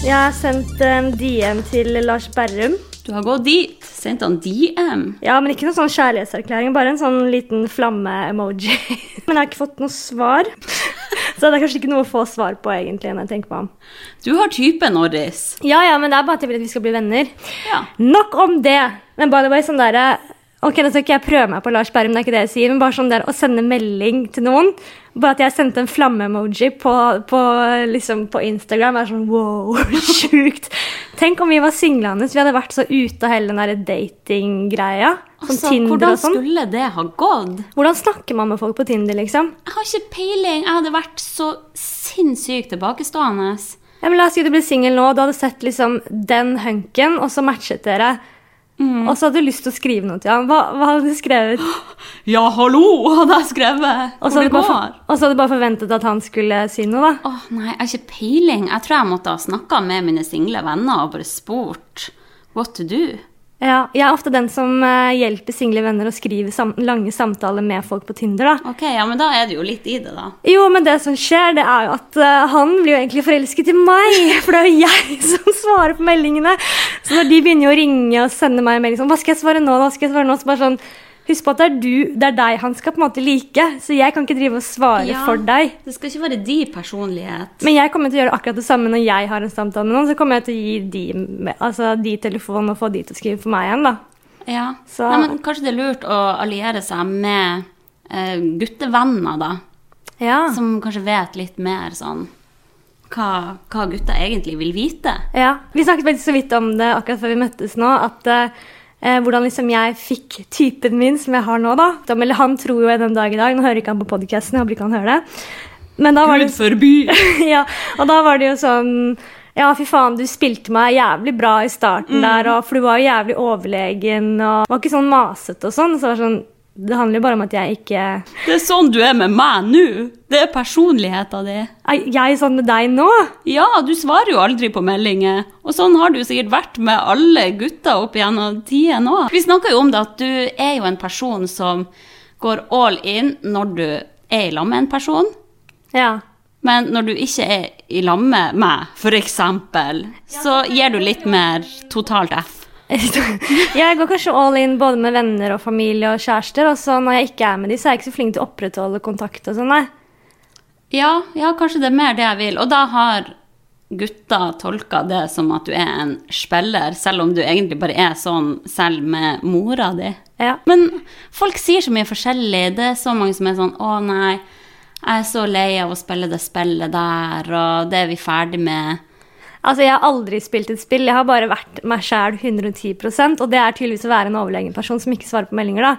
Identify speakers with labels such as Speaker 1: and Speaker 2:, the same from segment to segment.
Speaker 1: Jeg har sendt en DM til Lars Berrum.
Speaker 2: Du har gått dit. Sendt han DM.
Speaker 1: Ja, men ikke noen sånn kjærlighetserklæring, bare en sånn liten flamme-emoji. Men jeg har ikke fått noe svar. Så det er kanskje ikke noe å få svar på, egentlig, når jeg tenker meg om.
Speaker 2: Du har type, Norris.
Speaker 1: Ja, ja, men det er bare at jeg vil at vi skal bli venner.
Speaker 2: Ja.
Speaker 1: Nok om det! Men by the way, sånn derre Ok, nå skal ikke jeg prøve meg på Lars Berrum, det er ikke det jeg sier, men bare sånn der å sende melding til noen. Bare at jeg sendte en flamme-emoji på, på, liksom, på Instagram. er sånn wow, sjukt. Tenk om vi var singlende, så vi hadde vært så ute av hele den derre datinggreia. Som
Speaker 2: Altså,
Speaker 1: Tinder
Speaker 2: hvordan
Speaker 1: og sånn.
Speaker 2: skulle det ha gått?
Speaker 1: Hvordan snakker man med folk på Tinder, liksom?
Speaker 2: Jeg har ikke peiling. Jeg hadde vært så sinnssykt tilbakestående.
Speaker 1: Ja, men la oss si du ble singel nå, og du hadde sett liksom den hunken, og så matchet dere. Og så hadde du lyst til å skrive noe til ham. Hva, hva hadde du skrevet?
Speaker 2: Ja, hallo, hadde jeg skrevet.
Speaker 1: Og så hadde, du bare for- og så hadde du bare forventet at han skulle si noe, da.
Speaker 2: Åh, nei, jeg har ikke peiling. Jeg tror jeg måtte ha snakka med mine single venner og bare spurt what to do.
Speaker 1: Ja, jeg er ofte den som eh, hjelper single venner å skrive sam lange samtaler med folk på Tinder, da.
Speaker 2: Ok, ja, men da er det jo litt i det, da.
Speaker 1: Jo, men det som skjer, det er jo at eh, han blir jo egentlig forelsket i meg, for det er jo jeg som svarer på meldingene. Så når de begynner jo å ringe og sende meg en melding sånn, hva skal jeg svare nå, hva skal jeg svare nå, så bare sånn, husk på at det er du, det er deg han skal på en måte like, så jeg kan ikke drive og svare
Speaker 2: Ja.
Speaker 1: for deg.
Speaker 2: Det skal ikke være de personlighet.
Speaker 1: Men jeg kommer til å gjøre akkurat det samme når jeg har en samtale med noen, så kommer jeg til å gi de, me- altså, de telefonen og få de til å skrive for meg igjen, da.
Speaker 2: Ja.
Speaker 1: Så-
Speaker 2: Nei, men kanskje det er lurt å alliere seg med eh, guttevenner, da.
Speaker 1: Ja.
Speaker 2: Som kanskje vet litt mer sånn hva, hva gutta egentlig vil vite.
Speaker 1: Ja, Vi snakket veldig så vidt om det akkurat før vi møttes nå. at eh, Hvordan liksom jeg fikk typen min som jeg har nå. da. Da- Eller Han tror jo jeg den dag i dag. Nå hører ikke han på podkasten. Håper ikke han hører det. Men da var det,
Speaker 2: forby!
Speaker 1: ja, og da var det jo sånn Ja, fy faen, du spilte meg jævlig bra i starten der, og, for du var jo jævlig overlegen og var ikke sånn masete og sånn. Så det var sånn, Det handler jo bare om at jeg ikke
Speaker 2: Det er sånn du er med meg nå! Det er personligheten din.
Speaker 1: Er jeg sånn med deg nå?
Speaker 2: Ja, du svarer jo aldri på meldinger. Og sånn har du sikkert vært med alle gutter opp igjennom tiden nå. Vi snakker jo om det at du er jo en person som går all in når du er i lag med en person.
Speaker 1: Ja.
Speaker 2: Men når du ikke er i lag med meg, f.eks., så gir du litt mer totalt F.
Speaker 1: jeg går kanskje all in både med venner og familie og kjærester. Og så når jeg ikke er med de, så er jeg ikke så flink til å opprettholde kontakt og sånn, nei.
Speaker 2: Ja, ja, kanskje det er mer det jeg vil. Og da har gutta tolka det som at du er en spiller, selv om du egentlig bare er sånn selv med mora di.
Speaker 1: Ja.
Speaker 2: Men folk sier så mye forskjellig. Det er så mange som er sånn 'Å, nei, jeg er så lei av å spille det spillet der', og 'det er vi ferdig med'.
Speaker 1: Altså, jeg har aldri spilt et spill. Jeg har bare vært meg sjæl 110 og det er tydeligvis å være en overlegen person som ikke svarer på meldinger, da.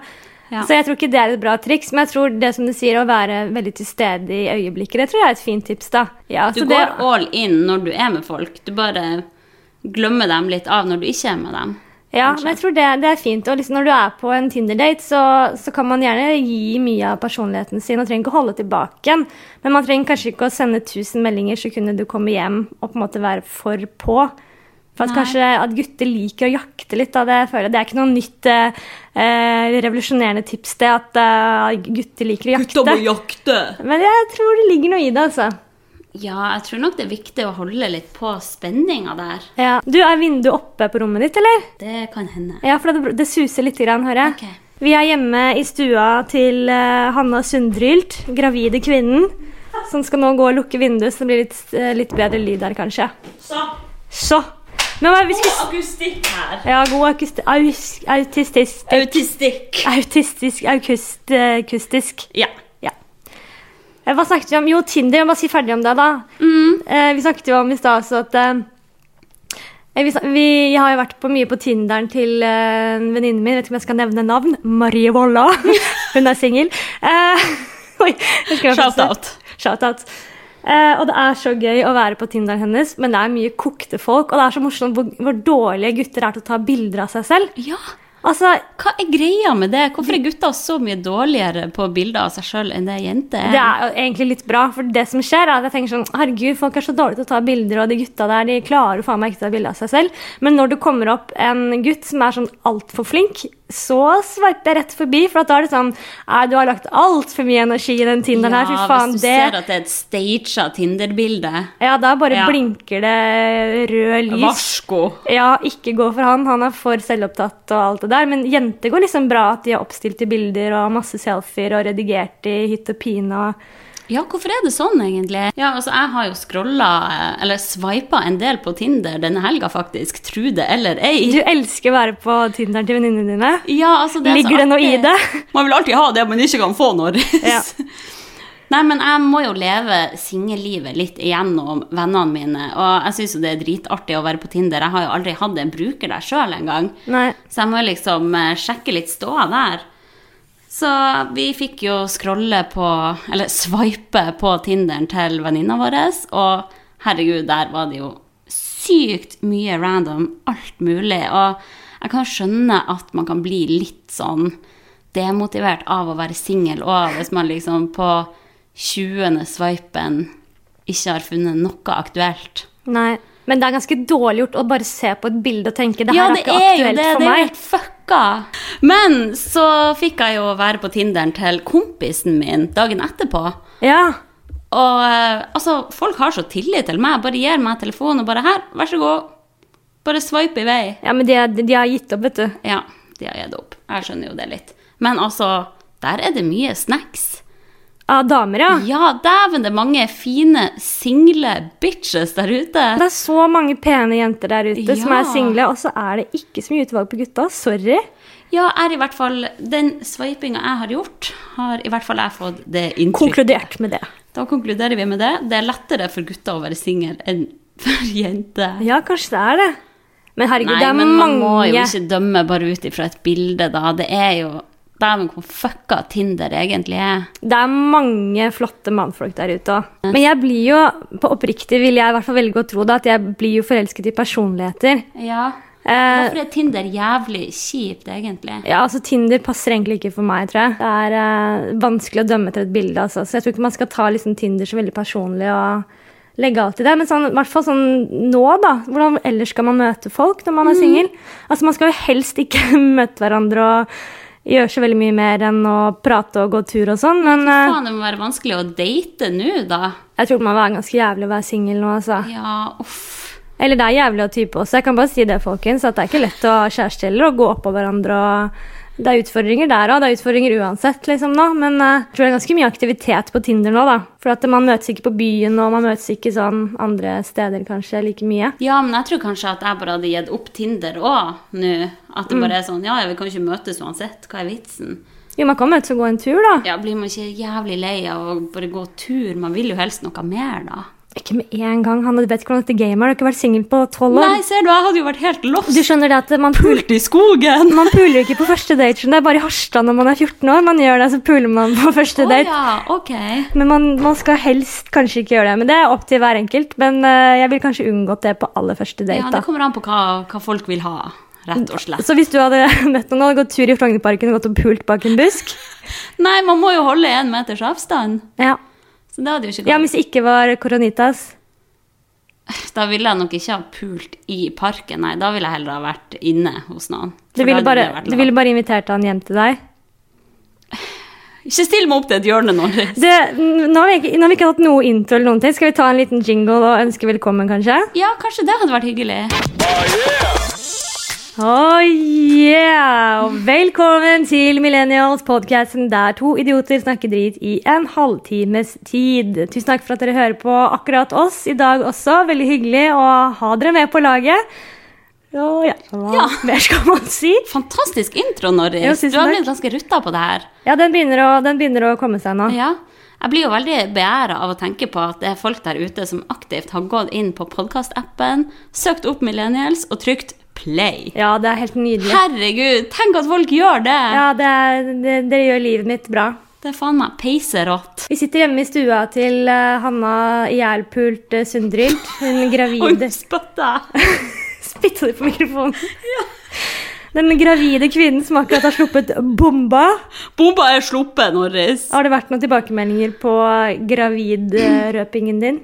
Speaker 2: Ja.
Speaker 1: Så jeg tror ikke det er et bra triks, men jeg tror det som du sier, å være veldig til stede i øyeblikket, det tror jeg er et fint tips, da. Ja,
Speaker 2: Du
Speaker 1: så det-
Speaker 2: går all in når du er med folk. Du bare glemmer dem litt av når du ikke er med dem.
Speaker 1: Ja, men jeg tror det, det er fint. Og liksom når du er på en Tinder-date, så, så kan man gjerne gi mye av personligheten sin og trenger ikke å holde tilbake. den. Men man trenger kanskje ikke å sende 1000 meldinger så kunne du komme hjem og på en måte være for på. For at
Speaker 2: Nei.
Speaker 1: kanskje at gutter liker å jakte litt, da, det føler jeg. Det er ikke noe nytt eh, eh, revolusjonerende tips, det at eh, gutter liker å jakte.
Speaker 2: jakte!
Speaker 1: Men jeg tror det ligger noe i det, altså.
Speaker 2: Ja, jeg tror nok det er viktig å holde litt på spenninga der.
Speaker 1: Ja. Du, er vinduet oppe på rommet ditt, eller?
Speaker 2: Det kan hende.
Speaker 1: Ja, for det, det suser litt, grann, hører jeg.
Speaker 2: Ok.
Speaker 1: Vi er hjemme i stua til eh, Hanna Sundrylt, gravide kvinnen, som skal nå gå og lukke vinduet, så det blir litt, eh, litt bedre lyd her, kanskje.
Speaker 2: Så,
Speaker 1: Så. Men hva, vi skulle...
Speaker 2: akustikk her.
Speaker 1: Ja, god akust... Aus, autistisk...
Speaker 2: Autistikk.
Speaker 1: Autistisk, akustisk... akustisk.
Speaker 2: Ja.
Speaker 1: Ja. Eh, Hva snakket vi om? Jo, Tinder. Jeg må bare si ferdig om det, da. Eh, vi snakket jo om i stad også at eh, eh, vi, snak- vi, Jeg har jo vært på mye på Tinderen til eh, en venninne min. Vet ikke om jeg skal nevne navn. Marie Volla. Hun er singel. Eh, oi, jeg husker hva jeg sa.
Speaker 2: Shout-out.
Speaker 1: Shout-out. Eh, og det er så gøy å være på Tinderen hennes, men det er mye kokte folk. Og det er så morsomt hvor, hvor dårlige gutter er til å ta bilder av seg selv.
Speaker 2: Ja.
Speaker 1: Altså,
Speaker 2: Hva er greia med det? Hvorfor er gutter så mye dårligere på bilder av seg sjøl enn det jenter er?
Speaker 1: Det er jo egentlig litt bra, for det som skjer er at jeg tenker sånn Herregud, folk er så dårlige til å ta bilder, og de gutta der de klarer jo faen meg ikke å ta bilde av seg selv. Men når det kommer opp en gutt som er sånn altfor flink, så sveiper jeg rett forbi, for at da er det sånn Nei, du har lagt altfor mye energi i den Tinderen her, fy faen.
Speaker 2: hvis du
Speaker 1: det
Speaker 2: ser at det er et staged Tinder-bilde.
Speaker 1: Ja, da bare
Speaker 2: Ja.
Speaker 1: blinker det rød lys.
Speaker 2: Varsko.
Speaker 1: Ja, ikke gå for han. Han er for selvopptatt og alt det der. Men jenter går liksom bra at de er oppstilt i bilder og masse selfier og redigert i hytt og pine og
Speaker 2: Ja, hvorfor er det sånn, egentlig? Ja, altså, Jeg har jo scrolla, eller sveipa en del på Tinder denne helga, faktisk. Tru det eller ei.
Speaker 1: Du elsker å være på Tinderen til venninnene dine.
Speaker 2: Ja, altså, er så
Speaker 1: Ligger det noe
Speaker 2: artig.
Speaker 1: i det?
Speaker 2: Man vil alltid ha det man ikke kan få når.
Speaker 1: Ja.
Speaker 2: Nei, men jeg må jo leve singellivet litt igjennom vennene mine. Og jeg syns jo det er dritartig å være på Tinder. Jeg har jo aldri hatt en bruker der sjøl engang.
Speaker 1: Nei.
Speaker 2: Så jeg må jo liksom eh, sjekke litt ståa der. Så vi fikk jo scrolle på, eller sveipe på Tinderen til venninna vår, og herregud, der var det jo sykt mye random, alt mulig. Og jeg kan skjønne at man kan bli litt sånn demotivert av å være singel òg, hvis man liksom på 20. sveipen ikke har funnet noe aktuelt.
Speaker 1: Nei. Men det er ganske dårlig gjort å bare se på et bilde og tenke det her er ikke
Speaker 2: jo
Speaker 1: aktuelt for
Speaker 2: det er jo
Speaker 1: meg.
Speaker 2: helt fucka. Men så fikk jeg jo være på Tinderen til kompisen min dagen etterpå.
Speaker 1: Ja.
Speaker 2: Og eh, altså, folk har så tillit til meg. Bare gir meg telefonen og bare her, vær så god. Bare swipe i vei.
Speaker 1: ja, men de, er- de har gitt opp, vet du.
Speaker 2: Ja, de har gitt opp. Jeg skjønner jo det litt. Men altså, der er det mye snacks.
Speaker 1: Av damer, ja.
Speaker 2: Ja, dæven, det er mange fine single bitches der ute.
Speaker 1: Det er så mange pene jenter der ute som
Speaker 2: Ja.
Speaker 1: er single, og så er det ikke så mye utvalg på gutta. Sorry.
Speaker 2: Ja, er i hvert fall Den swipinga jeg har gjort, har i hvert fall jeg fått det inntrykket.
Speaker 1: Konkludert med det.
Speaker 2: Da konkluderer vi med det. Det er lettere for gutter å være singel enn for jenter.
Speaker 1: Ja, kanskje det er det. Men herregud,
Speaker 2: Nei,
Speaker 1: det er
Speaker 2: men man må jo
Speaker 1: mange
Speaker 2: ikke dømme bare ut ifra et bilde, da. Det er jo Dæven, hvor fucka Tinder egentlig er.
Speaker 1: Det er mange flotte mannfolk der ute òg. Men jeg blir jo, på oppriktig vil jeg i hvert fall velge å tro det, at jeg blir jo forelsket i personligheter.
Speaker 2: Ja.
Speaker 1: Eh,
Speaker 2: Hvorfor er Tinder jævlig kjipt, egentlig?
Speaker 1: ja, altså Tinder passer egentlig ikke for meg, tror jeg. Det er eh, vanskelig å dømme etter et bilde, altså. Så jeg tror ikke man skal ta liksom, Tinder så veldig personlig og legge alt i det. Men sånn, i hvert fall sånn nå, da. Hvordan ellers skal man møte folk når man er singel? Altså, man skal jo helst ikke møte hverandre og gjøre så veldig mye mer enn å prate og gå tur og sånn, men eh,
Speaker 2: Faen, det må være vanskelig å date nå, da.
Speaker 1: jeg tror man er ganske jævlig å være singel nå, altså.
Speaker 2: Ja, uff.
Speaker 1: Eller det er jævlig å ty på også. Jeg kan bare si det, folkens, at det er ikke lett å ha kjæreste heller og gå oppå hverandre og Det er utfordringer der òg. Det er utfordringer uansett, liksom, nå. Men eh, jeg tror det er ganske mye aktivitet på Tinder nå, da. For at man møtes ikke på byen, og man møtes ikke sånn andre steder kanskje like mye.
Speaker 2: Ja, men jeg tror kanskje at jeg bare hadde gitt opp Tinder òg nå. At det bare er sånn Ja, ja, vi kan ikke møtes uansett. Hva er vitsen?
Speaker 1: Jo, man kan møtes og gå en tur, da.
Speaker 2: Ja, blir man ikke jævlig lei av å bare gå tur? Man vil jo helst noe mer, da.
Speaker 1: Ikke med en gang. Han vet ikke hvordan dette gamet er. Du har ikke vært singel på tolv år.
Speaker 2: Nei, ser du, jeg hadde jo vært helt lost.
Speaker 1: Du skjønner det at man puler
Speaker 2: i skogen!
Speaker 1: man puler jo ikke på første date. skjønner du. Det er bare i Harstad når man er 14 år. Man gjør det, så puler man på første
Speaker 2: Å
Speaker 1: date.
Speaker 2: ja, ok.
Speaker 1: Men man, man skal helst kanskje ikke gjøre det. Men det er opp til hver enkelt. Men eh, jeg vil kanskje unngått det på aller første
Speaker 2: Ja, det
Speaker 1: date.
Speaker 2: kommer an på hva, hva folk vil ha, rett og
Speaker 1: da.
Speaker 2: slett.
Speaker 1: Så hvis du hadde møtt noen og hadde gått tur i Frognerparken og gått og pult bak en busk
Speaker 2: Nei, man må jo holde én meters avstand.
Speaker 1: Ja,
Speaker 2: Så det hadde jo ikke
Speaker 1: ja men
Speaker 2: gått.
Speaker 1: hvis det ikke var koronitas
Speaker 2: Da ville jeg nok ikke ha pult i parken, nei. Da ville jeg heller ha vært inne hos noen.
Speaker 1: Du
Speaker 2: For
Speaker 1: ville
Speaker 2: da
Speaker 1: bare,
Speaker 2: hadde det vært
Speaker 1: du
Speaker 2: lov.
Speaker 1: ville bare invitert han hjem til deg.
Speaker 2: Ikke still meg opp til et hjørne, Norris.
Speaker 1: Du, n- nå, har vi ikke, nå har vi ikke hatt noe intro eller noen ting. Skal vi ta en liten jingle og ønske velkommen, kanskje?
Speaker 2: Ja, kanskje det hadde vært hyggelig.
Speaker 1: Oh yeah! Og velkommen til Millennials, podcasten der to idioter snakker drit i en halvtimes tid. Tusen takk for at dere hører på akkurat oss i dag også. Veldig hyggelig å ha dere med på laget. Og ja, hva
Speaker 2: Ja.
Speaker 1: mer skal man si?
Speaker 2: Fantastisk intro,
Speaker 1: Jo,
Speaker 2: Norris.
Speaker 1: tusen
Speaker 2: Du har
Speaker 1: takk.
Speaker 2: blitt ganske rutta på det her.
Speaker 1: Ja, den begynner å, den begynner å komme seg nå.
Speaker 2: Ja. Jeg blir jo veldig beæra av å tenke på at det er folk der ute som aktivt har gått inn på podkastappen, søkt opp Millennials og trykt play.
Speaker 1: Ja, det er helt nydelig.
Speaker 2: Herregud, tenk at folk gjør det!
Speaker 1: Ja, det er, det, dere gjør livet mitt bra.
Speaker 2: Det er faen meg peiserått.
Speaker 1: Vi sitter hjemme i stua til eh, Hanna Gjerpult uh, Sundrylt. Hun
Speaker 2: Oi,
Speaker 1: gravide
Speaker 2: nå spytta jeg.
Speaker 1: Spytta du på mikrofonen? Den gravide kvinnen som akkurat har sluppet bomba.
Speaker 2: Bomba er sluppet, Norris.
Speaker 1: Har det vært noen tilbakemeldinger på gravidrøpingen din?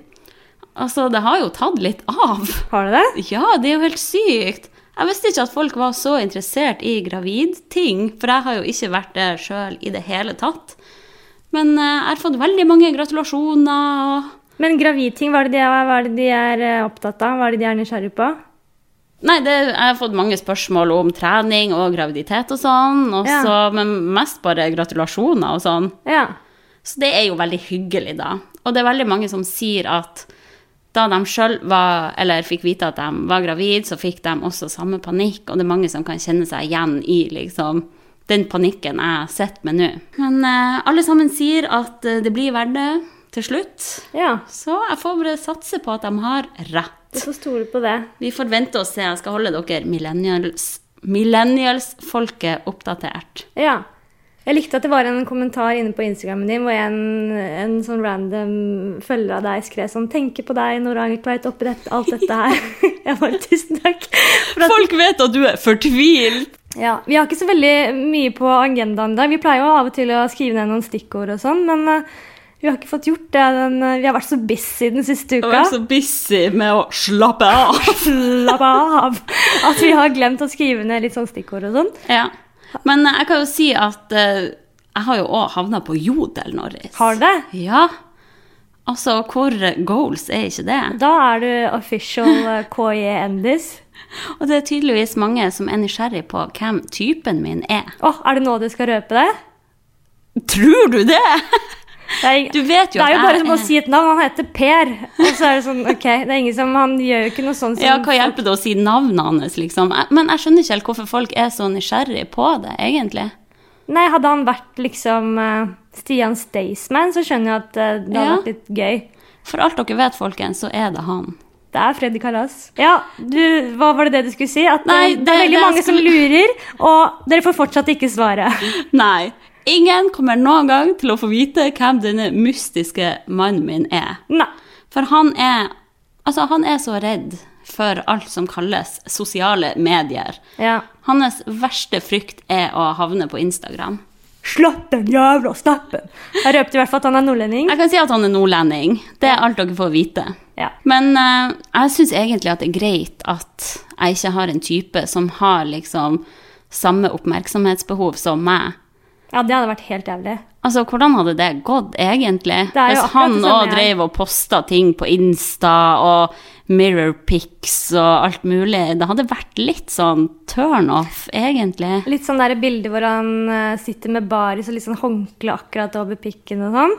Speaker 2: Altså, det har jo tatt litt av.
Speaker 1: Har det det?
Speaker 2: Ja, det er jo helt sykt. Jeg visste ikke at folk var så interessert i gravidting, for jeg har jo ikke vært det sjøl i det hele tatt. Men eh, jeg har fått veldig mange gratulasjoner. og
Speaker 1: Men gravidting, hva er det de er, hva er, det de er eh, opptatt av? Hva er det de er nysgjerrig på?
Speaker 2: Nei, det, jeg har fått mange spørsmål om trening og graviditet og sånn, og
Speaker 1: Ja.
Speaker 2: så- men mest bare gratulasjoner og sånn.
Speaker 1: Ja.
Speaker 2: Så det er jo veldig hyggelig, da. Og det er veldig mange som sier at da de sjøl var, eller fikk vite at de var gravid, så fikk de også samme panikk, og det er mange som kan kjenne seg igjen i liksom den panikken jeg sitter med nå. Men eh, alle sammen sier at eh, det blir verdt det til slutt,
Speaker 1: ja.
Speaker 2: så jeg får bare satse på at de har rett.
Speaker 1: Du får stole på det.
Speaker 2: Vi får vente og se. Jeg skal holde dere millennials, millennials-folket oppdatert.
Speaker 1: Ja. Jeg likte at det var en kommentar inne på Instagramen din hvor en, en sånn random følger av deg skrev sånn 'Tenker på deg når du er på vei til oppi dette, alt dette her'. Jeg bare Tusen takk. For at,
Speaker 2: Folk vet at du er fortvilt!
Speaker 1: ja, vi har ikke så veldig mye på agendaen i dag. Vi pleier jo av og til å skrive ned noen stikkord og sånn, men eh, vi har ikke fått gjort det. Den, eh, vi har vært så busy den siste
Speaker 2: Jeg er
Speaker 1: uka.
Speaker 2: så busy med å slappe av.
Speaker 1: Slapp av! At vi har glemt å skrive ned litt sånn stikkord og sånn.
Speaker 2: Ja. Men eh, jeg kan jo si at eh, jeg har jo òg havna på Jodel, Norris.
Speaker 1: Har du det?
Speaker 2: Ja. Altså, hvor goals er ikke det?
Speaker 1: Da er du official eh, KJ Endis.
Speaker 2: Og det er tydeligvis mange som er nysgjerrig på hvem typen min er.
Speaker 1: Å, er det nå du skal røpe det?
Speaker 2: Tror du det?!
Speaker 1: Det er,
Speaker 2: Du vet jo
Speaker 1: det er jo
Speaker 2: at
Speaker 1: bare
Speaker 2: jeg
Speaker 1: som å
Speaker 2: er-
Speaker 1: si et navn. Han heter Per. Og så er det sånn, ok, det er ingen som, Han gjør jo ikke noe sånn som
Speaker 2: Ja, hva hjelper det å si navnet hans, liksom? Jeg- Men jeg skjønner ikke helt hvorfor folk er så nysgjerrig på det, egentlig.
Speaker 1: Nei, Hadde han vært liksom eh, Stian Staysman, så skjønner jeg at eh, det hadde
Speaker 2: Ja.
Speaker 1: vært litt gøy.
Speaker 2: For alt dere vet, folkens, så er det han.
Speaker 1: Det er Freddy Kalas. Ja, du, Hva var det det du skulle si? At eh,
Speaker 2: Nei,
Speaker 1: det,
Speaker 2: det-
Speaker 1: er veldig
Speaker 2: det
Speaker 1: mange som
Speaker 2: skulle-
Speaker 1: lurer, og dere får fortsatt ikke svaret.
Speaker 2: Nei. Ingen kommer noen gang til å få vite hvem denne mystiske mannen min er.
Speaker 1: Nei.
Speaker 2: For han er Altså, han er så redd for alt som kalles sosiale medier.
Speaker 1: Ja.
Speaker 2: Hans verste frykt er å havne på Instagram.
Speaker 1: Slapp den jævla snappen! Jeg røpte i hvert fall at han er nordlending.
Speaker 2: Jeg kan si at han er nordlending. Det er alt dere får vite.
Speaker 1: Ja.
Speaker 2: Men eh, jeg syns egentlig at det er greit at jeg ikke har en type som har liksom samme oppmerksomhetsbehov som meg.
Speaker 1: ja, det hadde vært helt jævlig.
Speaker 2: Altså, hvordan hadde det gått, egentlig?
Speaker 1: Det er jo
Speaker 2: Hvis
Speaker 1: akkurat
Speaker 2: han
Speaker 1: det samme
Speaker 2: òg
Speaker 1: jeg.
Speaker 2: drev og posta ting på Insta og mirror pics og alt mulig, det hadde vært litt sånn turnoff, egentlig.
Speaker 1: Litt sånn der bilde hvor han eh, sitter med baris og litt sånn håndkle akkurat over pikken og sånn.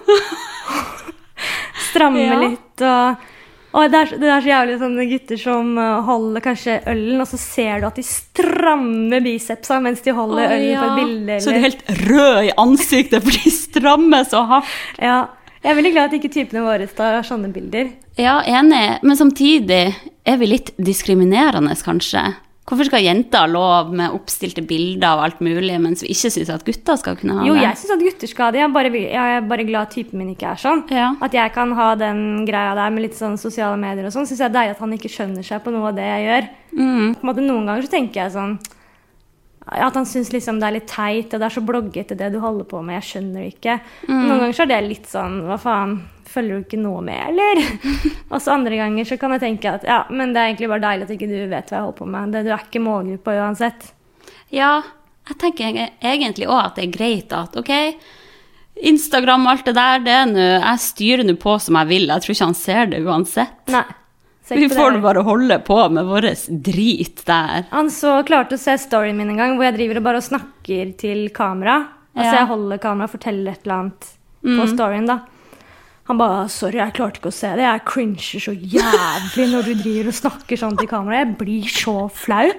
Speaker 1: Strammer
Speaker 2: Ja.
Speaker 1: litt og og det er, så- det er så jævlig sånne gutter som eh, holder kanskje ølen, og så ser du at de strammer bicepsa mens de holder
Speaker 2: Å,
Speaker 1: ølen på
Speaker 2: ja.
Speaker 1: et bilde.
Speaker 2: Så de
Speaker 1: eller-
Speaker 2: er helt røde i ansiktet, for de strammer så hardt.
Speaker 1: ja. Jeg er veldig glad at ikke typene våre tar sånne bilder.
Speaker 2: Ja, enig, men samtidig er vi litt diskriminerende, kanskje. Hvorfor skal jenter ha lov med oppstilte bilder av alt mulig, mens vi ikke syns at gutter skal kunne ha
Speaker 1: Jo,
Speaker 2: det?
Speaker 1: jeg syns at gutter skal ha det. Jeg er, bare, jeg er bare glad at typen min ikke er sånn.
Speaker 2: Ja.
Speaker 1: At jeg kan ha den greia der med litt sånn sosiale medier og sånn. Syns jeg det er deilig at han ikke skjønner seg på noe av det jeg gjør.
Speaker 2: Mm.
Speaker 1: På en måte Noen ganger så tenker jeg sånn at han syns liksom det er litt teit, og det er så bloggete det du holder på med, jeg skjønner det ikke. Noen ganger så er det litt sånn hva faen, følger du ikke noe med, eller? og så andre ganger så kan jeg tenke at ja, men det er egentlig bare deilig at ikke du vet hva jeg holder på med. Det, du er ikke målgruppa uansett.
Speaker 2: Ja, jeg tenker eg- egentlig òg at det er greit at ok, Instagram og alt det der, det er nå Jeg styrer nå på som jeg vil, jeg tror ikke han ser det uansett.
Speaker 1: Nei. ser
Speaker 2: Vi
Speaker 1: ikke på det
Speaker 2: får
Speaker 1: heller.
Speaker 2: bare holde på med vår drit der.
Speaker 1: Han så klarte å se storyen min en gang hvor jeg driver og bare snakker til kamera. Altså
Speaker 2: Ja. Mm.
Speaker 1: jeg holder kamera og forteller et eller annet på storyen, da. Han bare 'Sorry, jeg klarte ikke å se det. Jeg cringer så jævlig når du driver og snakker sånn til kamera. Jeg blir så flau.'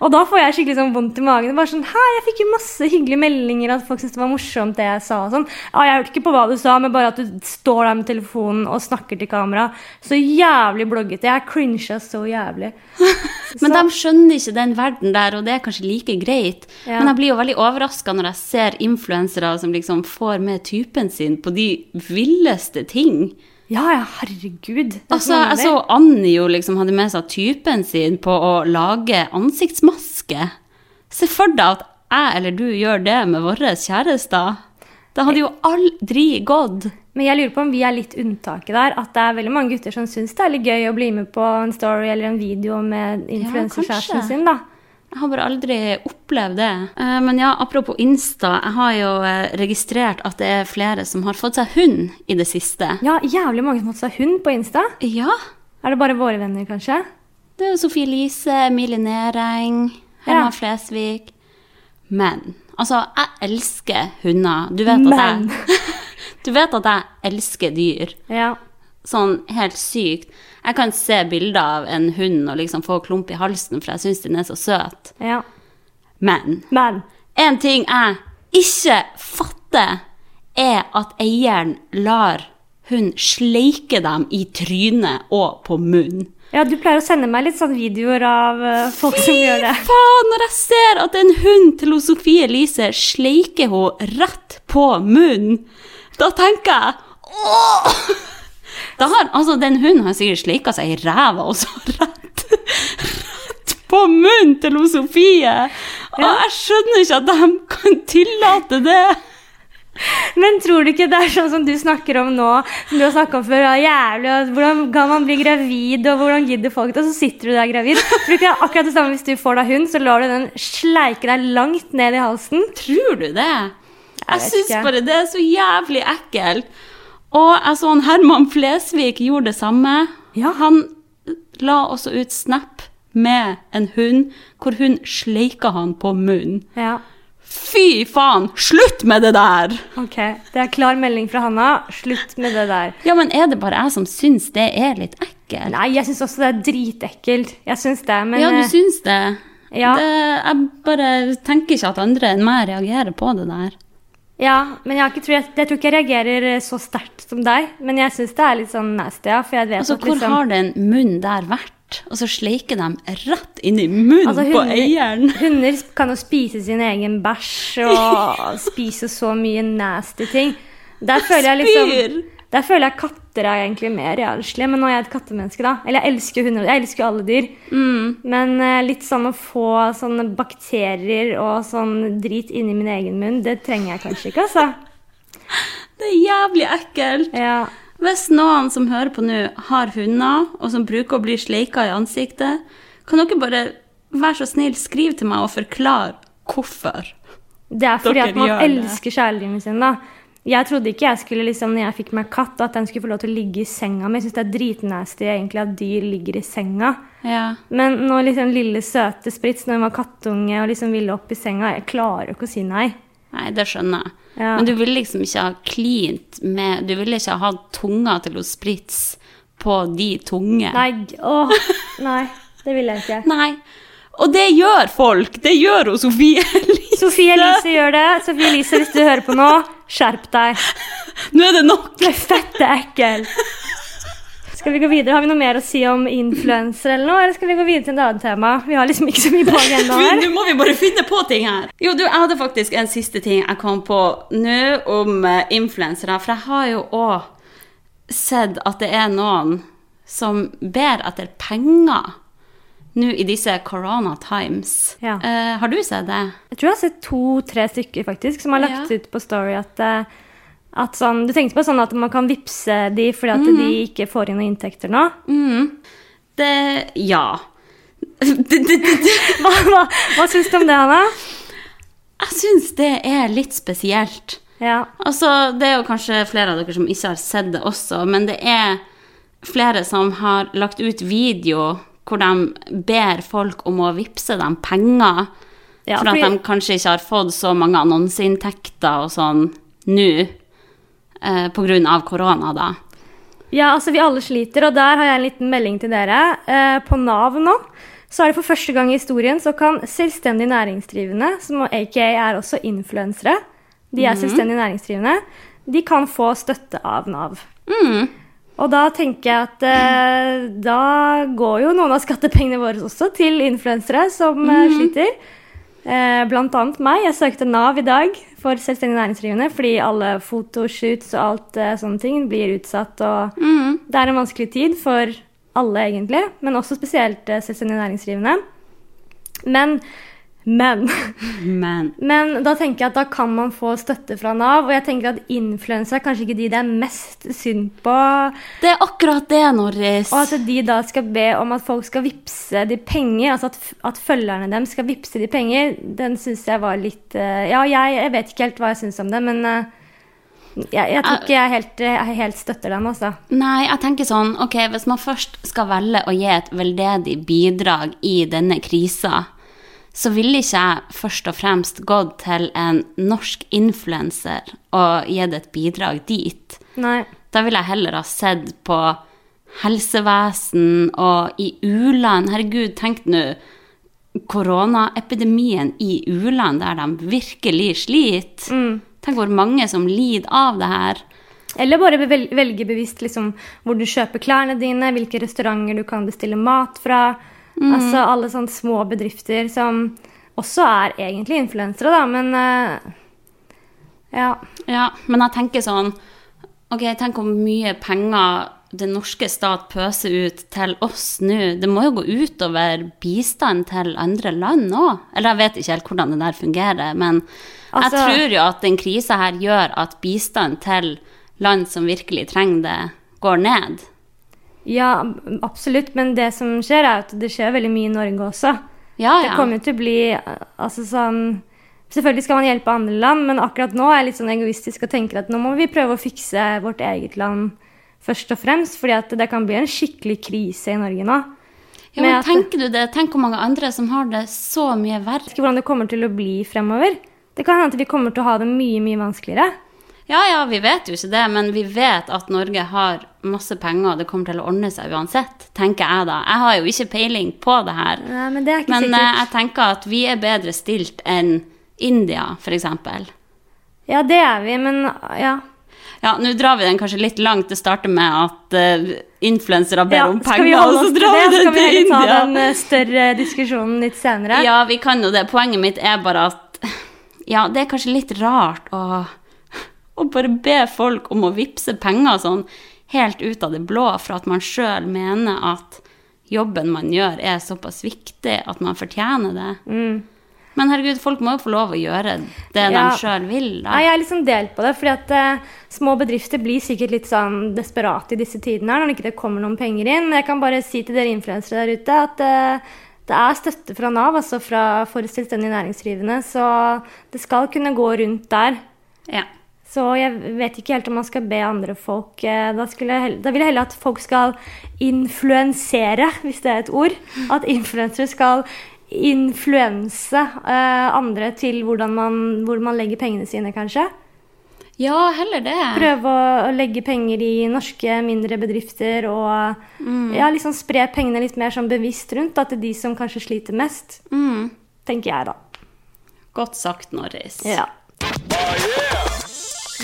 Speaker 1: Og da får jeg skikkelig sånn vondt i magen. Bare sånn 'Hæ, jeg fikk jo masse hyggelige meldinger at folk syntes det var morsomt, det jeg sa.' og sånn. 'Ja, jeg hørte ikke på hva du sa, men bare at du står der med telefonen og snakker til kamera.' Så jævlig bloggete. Jeg cringa så jævlig.
Speaker 2: Men de skjønner ikke den verden der, og det er kanskje like greit.
Speaker 1: Ja.
Speaker 2: Men jeg blir jo veldig overraska når jeg ser influensere som liksom får med typen sin på de villeste ting.
Speaker 1: Ja, ja, herregud. Det er
Speaker 2: Altså,
Speaker 1: så
Speaker 2: jeg så
Speaker 1: vanlig.
Speaker 2: Annie jo liksom hadde med seg typen sin på å lage ansiktsmaske. Se for deg at jeg eller du gjør det med våre kjærester. Da hadde jo aldri gått.
Speaker 1: Men jeg lurer på om vi er litt unntaket der. At det er veldig mange gutter som syns det er litt gøy å bli med på en story eller en video med influenserkjæresten
Speaker 2: kanskje.
Speaker 1: sin. da.
Speaker 2: Jeg har bare aldri opplevd det. Eh, Men ja, apropos Insta. Jeg har jo eh, registrert at det er flere som har fått seg hund i det siste.
Speaker 1: Ja, jævlig mange som har fått seg hund på Insta.
Speaker 2: Ja.
Speaker 1: Er det bare våre venner, kanskje?
Speaker 2: Det er jo Sofie Lise, Emilie Næreng,
Speaker 1: Ja.
Speaker 2: Herman Flesvig. Men altså, jeg elsker hunder. Du vet at
Speaker 1: Men.
Speaker 2: jeg Du vet at jeg elsker dyr.
Speaker 1: Ja.
Speaker 2: Sånn helt sykt. Jeg kan se bilder av en hund og liksom få klump i halsen, for jeg syns den er så søt.
Speaker 1: ja.
Speaker 2: Men
Speaker 1: Men.
Speaker 2: en ting jeg ikke fatter, er at eieren lar hund sleike dem i trynet og på munnen.
Speaker 1: Ja, du pleier å sende meg litt sånn videoer av eh, folk som gjør det.
Speaker 2: faen, når jeg ser at en hund til hun Sofie Elise sleiker hun rett på munnen, da tenker jeg åh! Da har, altså, den hunden har sikkert sleika seg i ræva og så rett, rett på munnen til hun Sofie. Og jeg skjønner ikke at de kan tillate det.
Speaker 1: Men tror du ikke det er sånn som du snakker om nå, som du har snakket om før, ja, jævlig, og hvordan kan man bli gravid, og hvordan gidder folk det, og så sitter du der gravid. Tror du ikke det er akkurat det samme hvis du får deg hund, så lar du den sleike deg langt ned i halsen?
Speaker 2: Tror du det? Jeg
Speaker 1: vet
Speaker 2: syns
Speaker 1: ikke.
Speaker 2: bare det er så jævlig ekkelt. Og jeg så han Herman Flesvig gjorde det samme.
Speaker 1: Ja.
Speaker 2: Han la også ut snap med en hund, hvor hun sleika han på munnen.
Speaker 1: Ja,
Speaker 2: Fy faen, slutt med det der!
Speaker 1: ok. Det er klar melding fra Hanna. Slutt med det der.
Speaker 2: Ja, men er det bare jeg som syns det er litt ekkelt?
Speaker 1: Nei, jeg syns også det er dritekkelt. Jeg syns det, men
Speaker 2: ja, du
Speaker 1: eh,
Speaker 2: syns det?
Speaker 1: ja.
Speaker 2: det? Jeg bare tenker ikke at andre enn meg reagerer på det der.
Speaker 1: ja, men jeg, har ikke, tror jeg, jeg tror ikke jeg reagerer eh, så sterkt som deg. Men jeg syns det er litt sånn nasty, ja. For jeg vet
Speaker 2: Altså,
Speaker 1: at
Speaker 2: hvor
Speaker 1: liksom
Speaker 2: har den munnen der vært? Og så sleiker de rett inn i munnen
Speaker 1: Altså,
Speaker 2: på
Speaker 1: hunder-
Speaker 2: eieren.
Speaker 1: Hunder kan jo spise sin egen bæsj og spise så mye nasty ting. Der føler jeg liksom
Speaker 2: Spyr!
Speaker 1: Der føler jeg katter er egentlig mer realslige, men nå er jeg et kattemenneske, da. Eller jeg elsker jo hunder, jeg elsker jo alle dyr.
Speaker 2: Mm.
Speaker 1: Men eh, litt sånn å få sånne bakterier og sånn drit inni min egen munn, det trenger jeg kanskje ikke, altså.
Speaker 2: Det er jævlig ekkelt.
Speaker 1: Ja.
Speaker 2: Hvis noen som hører på nå, har hunder, og som bruker å bli sleika i ansiktet, kan dere bare være så snill skriv til meg og forklare hvorfor.
Speaker 1: Det er fordi
Speaker 2: Dere
Speaker 1: at man
Speaker 2: gjør det.
Speaker 1: elsker kjæledyrene sine, da. Jeg trodde ikke jeg skulle, liksom, når jeg fikk meg katt, at den skulle få lov til å ligge i senga mi. Jeg syns det er dritnasty egentlig at dyr ligger i senga.
Speaker 2: Ja.
Speaker 1: Men når liksom lille søte Spritz, når hun var kattunge og liksom ville opp i senga, jeg klarer jo ikke å si nei.
Speaker 2: Nei, det skjønner jeg.
Speaker 1: Ja.
Speaker 2: Men du ville liksom ikke ha klint med Du ville ikke ha hatt tunga til å spritse på de tunge.
Speaker 1: Nei, g- åh, nei. Det ville jeg ikke.
Speaker 2: Nei. Og det gjør folk! Det gjør hun Sofie Elise.
Speaker 1: Sofie Elise gjør det. Sofie Elise, hvis du hører på nå, skjerp deg.
Speaker 2: Nå er det nok!
Speaker 1: Du er fette ekkel. Skal vi gå videre? Har vi noe mer å si om influensere eller noe? Eller skal vi gå videre til et annet tema? Vi har liksom ikke så mye på agendaen her.
Speaker 2: Nå må vi bare finne på ting her. Jo, du, jeg hadde faktisk en siste ting jeg kom på nå om eh, influensere. For jeg har jo òg sett at det er noen som ber etter penger nå i disse corona times.
Speaker 1: Ja.
Speaker 2: Eh, har du sett det?
Speaker 1: Jeg tror jeg har sett to-tre stykker faktisk som har lagt
Speaker 2: Ja.
Speaker 1: ut på Story at, eh, at sånn, Du tenkte på sånn at man kan vippse de fordi at de
Speaker 2: Mhm.
Speaker 1: ikke får inn noen inntekter nå?
Speaker 2: Mm. Det Ja. Det, det, det, det.
Speaker 1: Hva, hva, hva syns du om det, Hanna?
Speaker 2: Jeg syns det er litt spesielt.
Speaker 1: Ja.
Speaker 2: Altså, det er jo kanskje flere av dere som ikke har sett det også, men det er flere som har lagt ut video hvor de ber folk om å vippse dem penger,
Speaker 1: Ja,
Speaker 2: for at
Speaker 1: fordi-
Speaker 2: de kanskje ikke har fått så mange annonseinntekter og sånn nå, eh, på grunn av korona da.
Speaker 1: ja, altså vi alle sliter, og der har jeg en liten melding til dere. Eh, på Nav nå så er det for første gang i historien så kan selvstendig næringsdrivende, som aka er også influensere, de er selvstendig næringsdrivende, de kan få støtte av Nav.
Speaker 2: Mm.
Speaker 1: Og da tenker jeg at eh, da går jo noen av skattepengene våre også til influensere som eh, sliter. Eh, blant annet meg. Jeg søkte Nav i dag for selvstendig næringsdrivende fordi alle fotoshoots og alt eh, sånne ting blir utsatt. Og
Speaker 2: Mm.
Speaker 1: det er en vanskelig tid for alle, egentlig, men også spesielt eh, selvstendig næringsdrivende. Men Men Mm.
Speaker 2: Men
Speaker 1: Men da tenker jeg at da kan man få støtte fra Nav. Og jeg tenker at influensere er kanskje ikke de det er mest synd på.
Speaker 2: det er akkurat det, Norris.
Speaker 1: Og at de da skal be om at folk skal vippse de penger, altså at, f- at følgerne dem skal vippse de penger, den syns jeg var litt eh, Ja, jeg, jeg vet ikke helt hva jeg syns om det, men eh, jeg, jeg tror ikke jeg helt, jeg helt støtter dem, altså.
Speaker 2: Nei, jeg tenker sånn, ok, hvis man først skal velge å gi et veldedig bidrag i denne krisa, så ville ikke jeg først og fremst gått til en norsk influenser og gitt et bidrag dit.
Speaker 1: Nei.
Speaker 2: Da ville jeg heller ha sett på helsevesen og i u-land. Herregud, tenk nå koronaepidemien i u-land, der de virkelig sliter. Tenk hvor mange som lider av det her.
Speaker 1: Eller bare vel- velge bevisst liksom, hvor du kjøper klærne dine, hvilke restauranter du kan bestille mat fra. Altså alle sånne små bedrifter som også er egentlig influensere, da, men eh, Ja.
Speaker 2: Ja, men jeg tenker sånn Ok, tenk hvor mye penger den norske stat pøser ut til oss nå. Det må jo gå utover bistand til andre land òg. Eller jeg vet ikke helt hvordan det der fungerer, men jeg
Speaker 1: Altså-
Speaker 2: tror jo at den krisa her gjør at bistand til land som virkelig trenger det, går ned.
Speaker 1: Ja, absolutt, men det som skjer, er at det skjer veldig mye i Norge også.
Speaker 2: Ja,
Speaker 1: Det
Speaker 2: ja.
Speaker 1: kommer jo til å bli eh, altså sånn Selvfølgelig skal man hjelpe andre land, men akkurat nå er jeg litt sånn egoistisk og tenker at nå må vi prøve å fikse vårt eget land først og fremst, fordi at det kan bli en skikkelig krise i Norge nå. med
Speaker 2: ja men
Speaker 1: at-
Speaker 2: tenker du det? Tenk hvor mange andre som har det så mye verre.
Speaker 1: Jeg vet ikke hvordan det kommer til å bli fremover. Det kan hende at vi kommer til å ha det mye, mye vanskeligere.
Speaker 2: Ja, ja, vi vet jo ikke det, men vi vet at Norge har masse penger, og det kommer til å ordne seg uansett, tenker jeg da. Jeg har jo ikke peiling på det her.
Speaker 1: Nei, men det er ikke
Speaker 2: Men eh,
Speaker 1: sikkert.
Speaker 2: jeg tenker at vi er bedre stilt enn India, f.eks.
Speaker 1: Ja, det er vi, men ja.
Speaker 2: Ja, nå drar vi den kanskje litt langt. Det starter med at eh, influensere ber
Speaker 1: ja
Speaker 2: om
Speaker 1: skal vi
Speaker 2: penger,
Speaker 1: holde
Speaker 2: og
Speaker 1: oss
Speaker 2: så
Speaker 1: til
Speaker 2: drar
Speaker 1: det, så
Speaker 2: vi den
Speaker 1: skal vi
Speaker 2: til
Speaker 1: heller ta
Speaker 2: India.
Speaker 1: den eh, større diskusjonen litt senere.
Speaker 2: Ja, vi kan jo det. Poenget mitt er bare at ja, det er kanskje litt rart å, å bare be folk om å vippse penger sånn helt ut av det blå for at man sjøl mener at jobben man gjør, er såpass viktig at man fortjener det. Men herregud, folk må jo få lov å gjøre det
Speaker 1: Mm. Ja.
Speaker 2: de sjøl vil, da.
Speaker 1: Nei, jeg er liksom delt på det, fordi at eh, små bedrifter blir sikkert litt sånn desperate i disse tidene her, når ikke det kommer noen penger inn. Jeg kan bare si til dere influensere der ute at eh, det er støtte fra Nav, altså fra for selvstendig næringsdrivende, så det skal kunne gå rundt der.
Speaker 2: Ja.
Speaker 1: Så jeg vet ikke helt om man skal be andre folk eh, Da, skulle jeg, hell- da vil jeg heller at folk skal influensere, hvis det er et ord. At influensere skal influense eh, andre til hvordan man, hvor man legger pengene sine, kanskje.
Speaker 2: ja, heller det.
Speaker 1: Prøve å, å legge penger i norske mindre bedrifter og ja, liksom spre pengene litt mer sånn bevisst rundt da, til de som kanskje sliter mest,
Speaker 2: Mm.
Speaker 1: tenker jeg da.
Speaker 2: Godt sagt, Norris.
Speaker 1: Ja.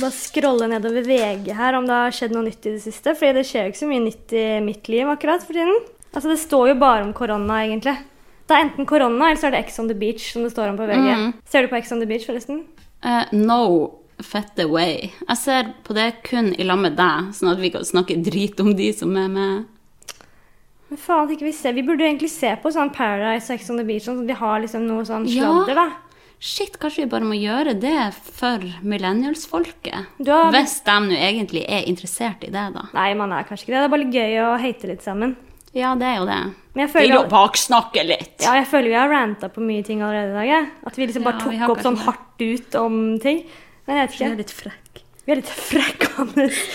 Speaker 1: Bare scrolle nedover VG her om det har skjedd noe nytt i det siste. Fordi det skjer jo ikke så mye nytt i mitt liv akkurat for tiden. Altså Det står jo bare om korona, egentlig. Det er enten korona eller så er det Ex on the beach som det står om på VG. Ser du på Ex on the beach, forresten?
Speaker 2: Eh, no fette way. Jeg ser på det kun i lag med deg, sånn at vi kan snakke drit om de som er med.
Speaker 1: Men faen, at ikke vi ser. Vi burde jo egentlig se på sånn Paradise og Ex on the beach, sånn at vi har liksom noe sånn
Speaker 2: Ja.
Speaker 1: sladder, da.
Speaker 2: Shit, kanskje vi bare må gjøre det for millennials-folket?
Speaker 1: Du har-
Speaker 2: Hvis de nå egentlig er interessert i det, da.
Speaker 1: Nei, man er kanskje ikke det. Det er bare litt gøy å hate litt sammen.
Speaker 2: Ja, det er jo det.
Speaker 1: Men jeg
Speaker 2: Til
Speaker 1: føler
Speaker 2: å baksnakke litt!
Speaker 1: Ja, jeg føler vi har ranta på mye ting allerede i dag. jeg. At vi liksom bare
Speaker 2: Ja, vi har
Speaker 1: tok opp sånn
Speaker 2: kanskje
Speaker 1: hardt ut om ting. Men jeg vet
Speaker 2: Jeg er
Speaker 1: ikke.
Speaker 2: litt frekk.
Speaker 1: Vi er litt frekke, Anders.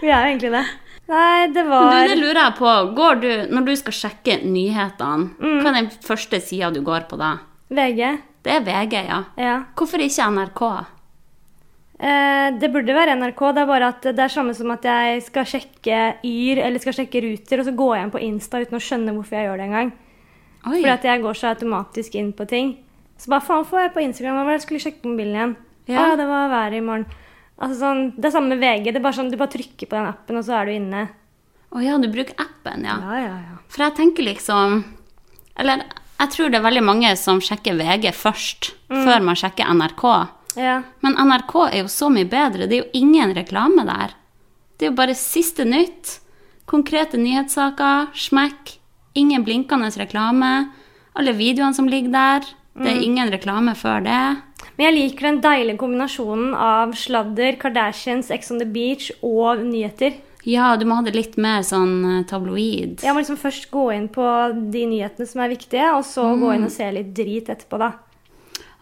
Speaker 1: Vi er jo egentlig det. Nei, det
Speaker 2: Du,
Speaker 1: var
Speaker 2: det lurer jeg på. Går du, når du skal sjekke nyhetene,
Speaker 1: Mm.
Speaker 2: hva er den første sida du går på da?
Speaker 1: VG.
Speaker 2: Det er VG, ja.
Speaker 1: Ja.
Speaker 2: Hvorfor ikke NRK?
Speaker 1: Eh, det burde være NRK. Det er bare at det er samme som at jeg skal sjekke Yr eller skal sjekke Ruter, og så går jeg inn på Insta uten å skjønne hvorfor jeg gjør det engang.
Speaker 2: Oi.
Speaker 1: Fordi at jeg går så automatisk inn på ting. Så bare faen, får jeg på Instagram? Hva var det jeg skulle sjekke mobilen igjen? Ja,
Speaker 2: Ja.
Speaker 1: det var været i morgen. Altså sånn, Det er samme med VG. det er bare sånn, Du bare trykker på den appen, og så er du inne.
Speaker 2: Å ja, du bruker appen, ja.
Speaker 1: Ja, ja, ja.
Speaker 2: For jeg tenker liksom Eller jeg tror det er veldig mange som sjekker VG først, før man sjekker NRK.
Speaker 1: Ja,
Speaker 2: Men NRK er jo så mye bedre. Det er jo ingen reklame der. Det er jo bare siste nytt. Konkrete nyhetssaker. Smekk. Ingen blinkende reklame. Alle videoene som ligger der. Det er ingen reklame før det.
Speaker 1: Men jeg liker den deilige kombinasjonen av sladder, Kardashians, Ex on the Beach og nyheter.
Speaker 2: Ja, du må ha det litt mer sånn eh, tabloid.
Speaker 1: Jeg må liksom først gå inn på de nyhetene som er viktige, og så gå inn og se litt drit etterpå, da.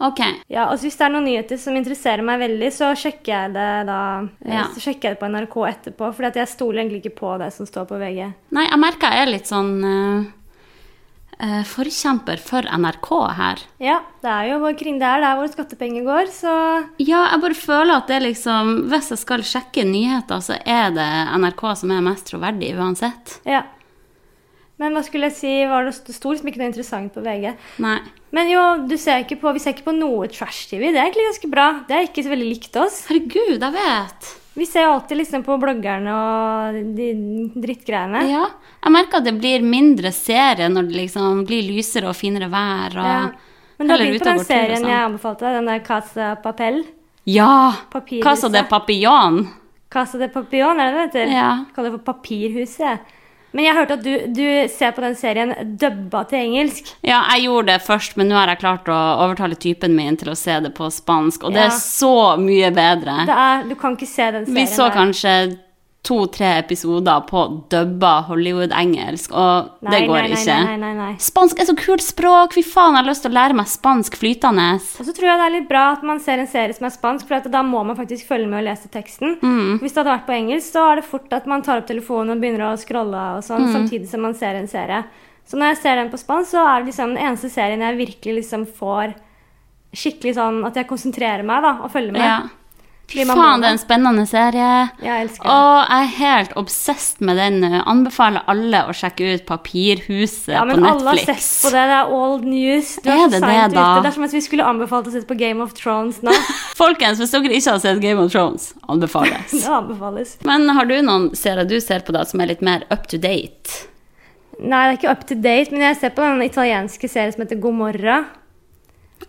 Speaker 2: Ok.
Speaker 1: Ja, altså Hvis det er noen nyheter som interesserer meg veldig, så sjekker jeg det da
Speaker 2: Ja.
Speaker 1: Så sjekker jeg det på NRK etterpå. For jeg stoler egentlig ikke på det som står på VG.
Speaker 2: Nei, jeg merker jeg er litt sånn eh, eh, forkjemper for NRK her.
Speaker 1: Ja, det er jo vår kring det er der våre skattepenger går, så
Speaker 2: Ja, jeg bare føler at det er liksom Hvis jeg skal sjekke nyheter, så er det NRK som er mest troverdig uansett.
Speaker 1: ja. Men hva skulle jeg si, var det sto sto liksom ikke noe interessant på VG.
Speaker 2: Nei.
Speaker 1: Men jo, du ser ikke på, vi ser ikke på noe trash-TV. Det er egentlig ganske bra. Det er ikke så veldig likt oss.
Speaker 2: Herregud, jeg vet!
Speaker 1: Vi ser jo alltid liksom på bloggerne og de drittgreiene.
Speaker 2: Ja. Jeg merker at det blir mindre serie når det liksom blir lysere og finere vær. Og
Speaker 1: Ja. Men du har
Speaker 2: heller
Speaker 1: begynt
Speaker 2: ute
Speaker 1: på den
Speaker 2: og går tur og
Speaker 1: serien
Speaker 2: sånn.
Speaker 1: jeg anbefalte deg, den der Casa Papel.
Speaker 2: Ja!
Speaker 1: Papirhuset.
Speaker 2: Casa de Papillon.
Speaker 1: Casa de Papillon, er det det heter?
Speaker 2: Ja.
Speaker 1: Jeg Kaller det for Papirhuset. jeg. Men jeg hørte at du, du ser på den serien dubba til engelsk.
Speaker 2: Ja, jeg gjorde det først, men nå har jeg klart å overtale typen min til å se det på spansk, og det
Speaker 1: Ja.
Speaker 2: er så mye bedre.
Speaker 1: Det er, du kan ikke se den serien.
Speaker 2: Vi så
Speaker 1: der.
Speaker 2: kanskje to-tre episoder på dubba Hollywood-engelsk, og
Speaker 1: Nei,
Speaker 2: det går
Speaker 1: nei, nei,
Speaker 2: ikke.
Speaker 1: Nei, nei, nei, nei.
Speaker 2: Spansk er så kult språk! Fy faen, jeg har lyst til å lære meg spansk flytende.
Speaker 1: Og så tror jeg det er litt bra at man ser en serie som er spansk, for at da må man faktisk følge med og lese teksten.
Speaker 2: Mm.
Speaker 1: Hvis det hadde vært på engelsk, så er det fort at man tar opp telefonen og begynner å scrolle og sånn,
Speaker 2: Mm.
Speaker 1: samtidig som man ser en serie. Så når jeg ser den på spansk, så er det liksom den eneste serien jeg virkelig liksom får skikkelig sånn at jeg konsentrerer meg da, og følger med.
Speaker 2: Ja. Fy
Speaker 1: Fordi man må
Speaker 2: faen, det
Speaker 1: det.
Speaker 2: er en spennende serie.
Speaker 1: Jeg elsker den.
Speaker 2: Og jeg er helt obsessed med den nå. Anbefaler alle å sjekke ut Papirhuset
Speaker 1: Ja,
Speaker 2: på
Speaker 1: men alle har sett
Speaker 2: Netflix.
Speaker 1: på det. Det er old news. Du
Speaker 2: Er
Speaker 1: så
Speaker 2: det
Speaker 1: sent
Speaker 2: det, da?
Speaker 1: ute. Det er som at vi skulle anbefalt å sette på Game of Thrones nå.
Speaker 2: Folkens, hvis dere ikke har sett Game of Thrones, anbefales.
Speaker 1: Det anbefales.
Speaker 2: Men har du noen serier du ser på da som er litt mer up to date?
Speaker 1: Nei, det er ikke up to date, men jeg ser på den italienske serien som heter Gomorra.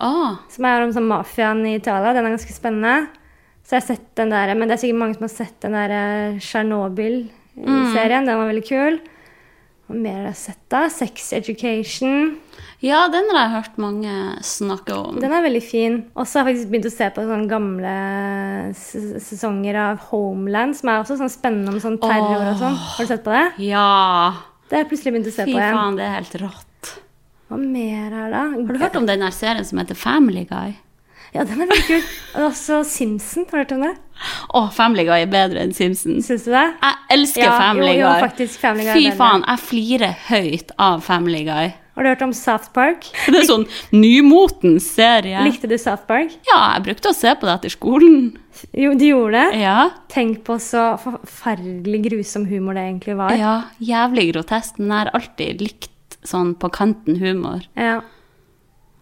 Speaker 2: Ah,
Speaker 1: Som er om sånn mafiaen i Italia. Den er ganske spennende. Så jeg har sett den der, men det er sikkert mange som har sett den der eh, Tsjernobyl-serien. Den var veldig kul. Hva mer har jeg sett da? Sex Education.
Speaker 2: ja, den har jeg hørt mange snakke om.
Speaker 1: Den er veldig fin. Og så har jeg faktisk begynt å se på sånne gamle s- sesonger av Homeland, som er også sånn spennende om sånn terror og sånn. Har du sett på det?
Speaker 2: Ja,
Speaker 1: Det har jeg plutselig begynt å se
Speaker 2: fy
Speaker 1: på igjen.
Speaker 2: faen, det er helt rått.
Speaker 1: Hva mer er det?
Speaker 2: Har du hørt om den der serien som heter Family Guy?
Speaker 1: Ja, den er veldig kul. Og også Simpson. Har du hørt om det?
Speaker 2: Å, Family Guy er bedre enn Simpsons.
Speaker 1: Syns du det?
Speaker 2: Jeg elsker
Speaker 1: Ja,
Speaker 2: Family
Speaker 1: jo, jo,
Speaker 2: Guy.
Speaker 1: faktisk, Family Guy er
Speaker 2: Fy
Speaker 1: bedre.
Speaker 2: faen, jeg flirer høyt av Family Guy.
Speaker 1: Har du hørt om South Park?
Speaker 2: Det er sånn nymotens serie.
Speaker 1: Likte du South Park?
Speaker 2: Ja, jeg brukte å se på det etter skolen.
Speaker 1: Jo, de gjorde det.
Speaker 2: Ja,
Speaker 1: Tenk på så forferdelig grusom humor det egentlig var. Ja.
Speaker 2: ja jævlig grotesk, men jeg har alltid likt sånn på kanten humor.
Speaker 1: Ja.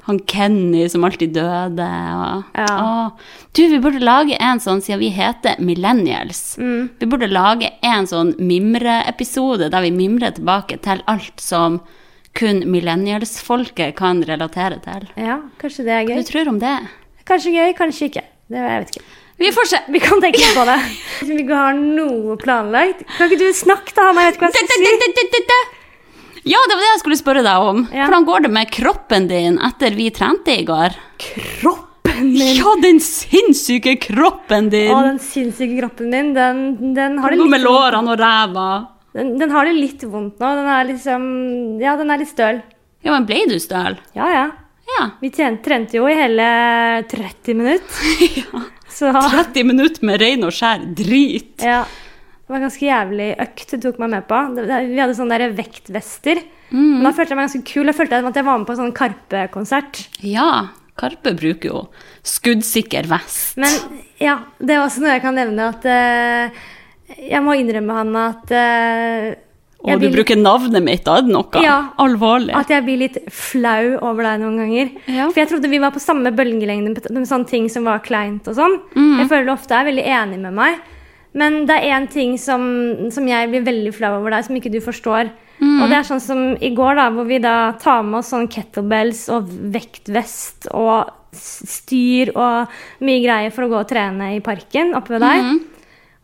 Speaker 2: Han Kenny som alltid døde. Og,
Speaker 1: Ja.
Speaker 2: Åh. Du, vi burde lage en sånn, siden vi heter Millennials
Speaker 1: Mm.
Speaker 2: Vi burde lage en sånn mimreepisode der vi mimrer tilbake til alt som kun millennials-folket kan relatere til.
Speaker 1: kanskje det er
Speaker 2: Hva
Speaker 1: gøy.
Speaker 2: du tror om det?
Speaker 1: Kanskje gøy, kanskje ikke. Det, jeg vet ikke.
Speaker 2: Vi får se.
Speaker 1: Vi kan tenke på det. Hvis vi ikke har noe planlagt Kan ikke du snakke, da, Hanna? Jeg vet ikke hva jeg skal si.
Speaker 2: Ja, det var det jeg skulle spørre deg om.
Speaker 1: Ja.
Speaker 2: Hvordan går det med kroppen din etter vi trente i går?
Speaker 1: Kroppen min!
Speaker 2: Ja, den sinnssyke kroppen din!
Speaker 1: Å, den sinnssyke kroppen min, den, den har det
Speaker 2: Noe med
Speaker 1: litt
Speaker 2: lårene og ræva.
Speaker 1: den, den har det litt vondt nå. Den er liksom Ja, den er litt støl.
Speaker 2: Ja, men ble du støl?
Speaker 1: Ja, ja.
Speaker 2: Ja.
Speaker 1: Vi tjente, trente jo i hele 30 minutter. Så
Speaker 2: 30 minutter med rein og skjær drit.
Speaker 1: Ja. Det var en ganske jævlig økt du tok meg med på. Det- det- Vi hadde sånne der vektvester. Men da følte jeg meg ganske kul. Da følte jeg at jeg var med på en sånn Karpe-konsert.
Speaker 2: Ja, Karpe bruker jo skuddsikker vest.
Speaker 1: Men ja, det er også noe jeg kan nevne at eh, Jeg må innrømme, Hanna, at eh,
Speaker 2: Og
Speaker 1: jeg
Speaker 2: du
Speaker 1: blir litt-
Speaker 2: bruker navnet mitt, da er det noe
Speaker 1: Ja.
Speaker 2: alvorlig.
Speaker 1: At jeg blir litt flau over deg noen ganger.
Speaker 2: Ja.
Speaker 1: For jeg trodde vi var på samme bølgelengde med, med sånne ting som var kleint og sånn. Jeg føler du ofte er veldig enig med meg. Men det er én ting som, som jeg blir veldig flau over deg, som ikke du forstår. Og det er sånn som i går, da, hvor vi da tar med oss sånn kettlebells og vektvest og s- styr og mye greier for å gå og trene i parken oppe ved deg. Og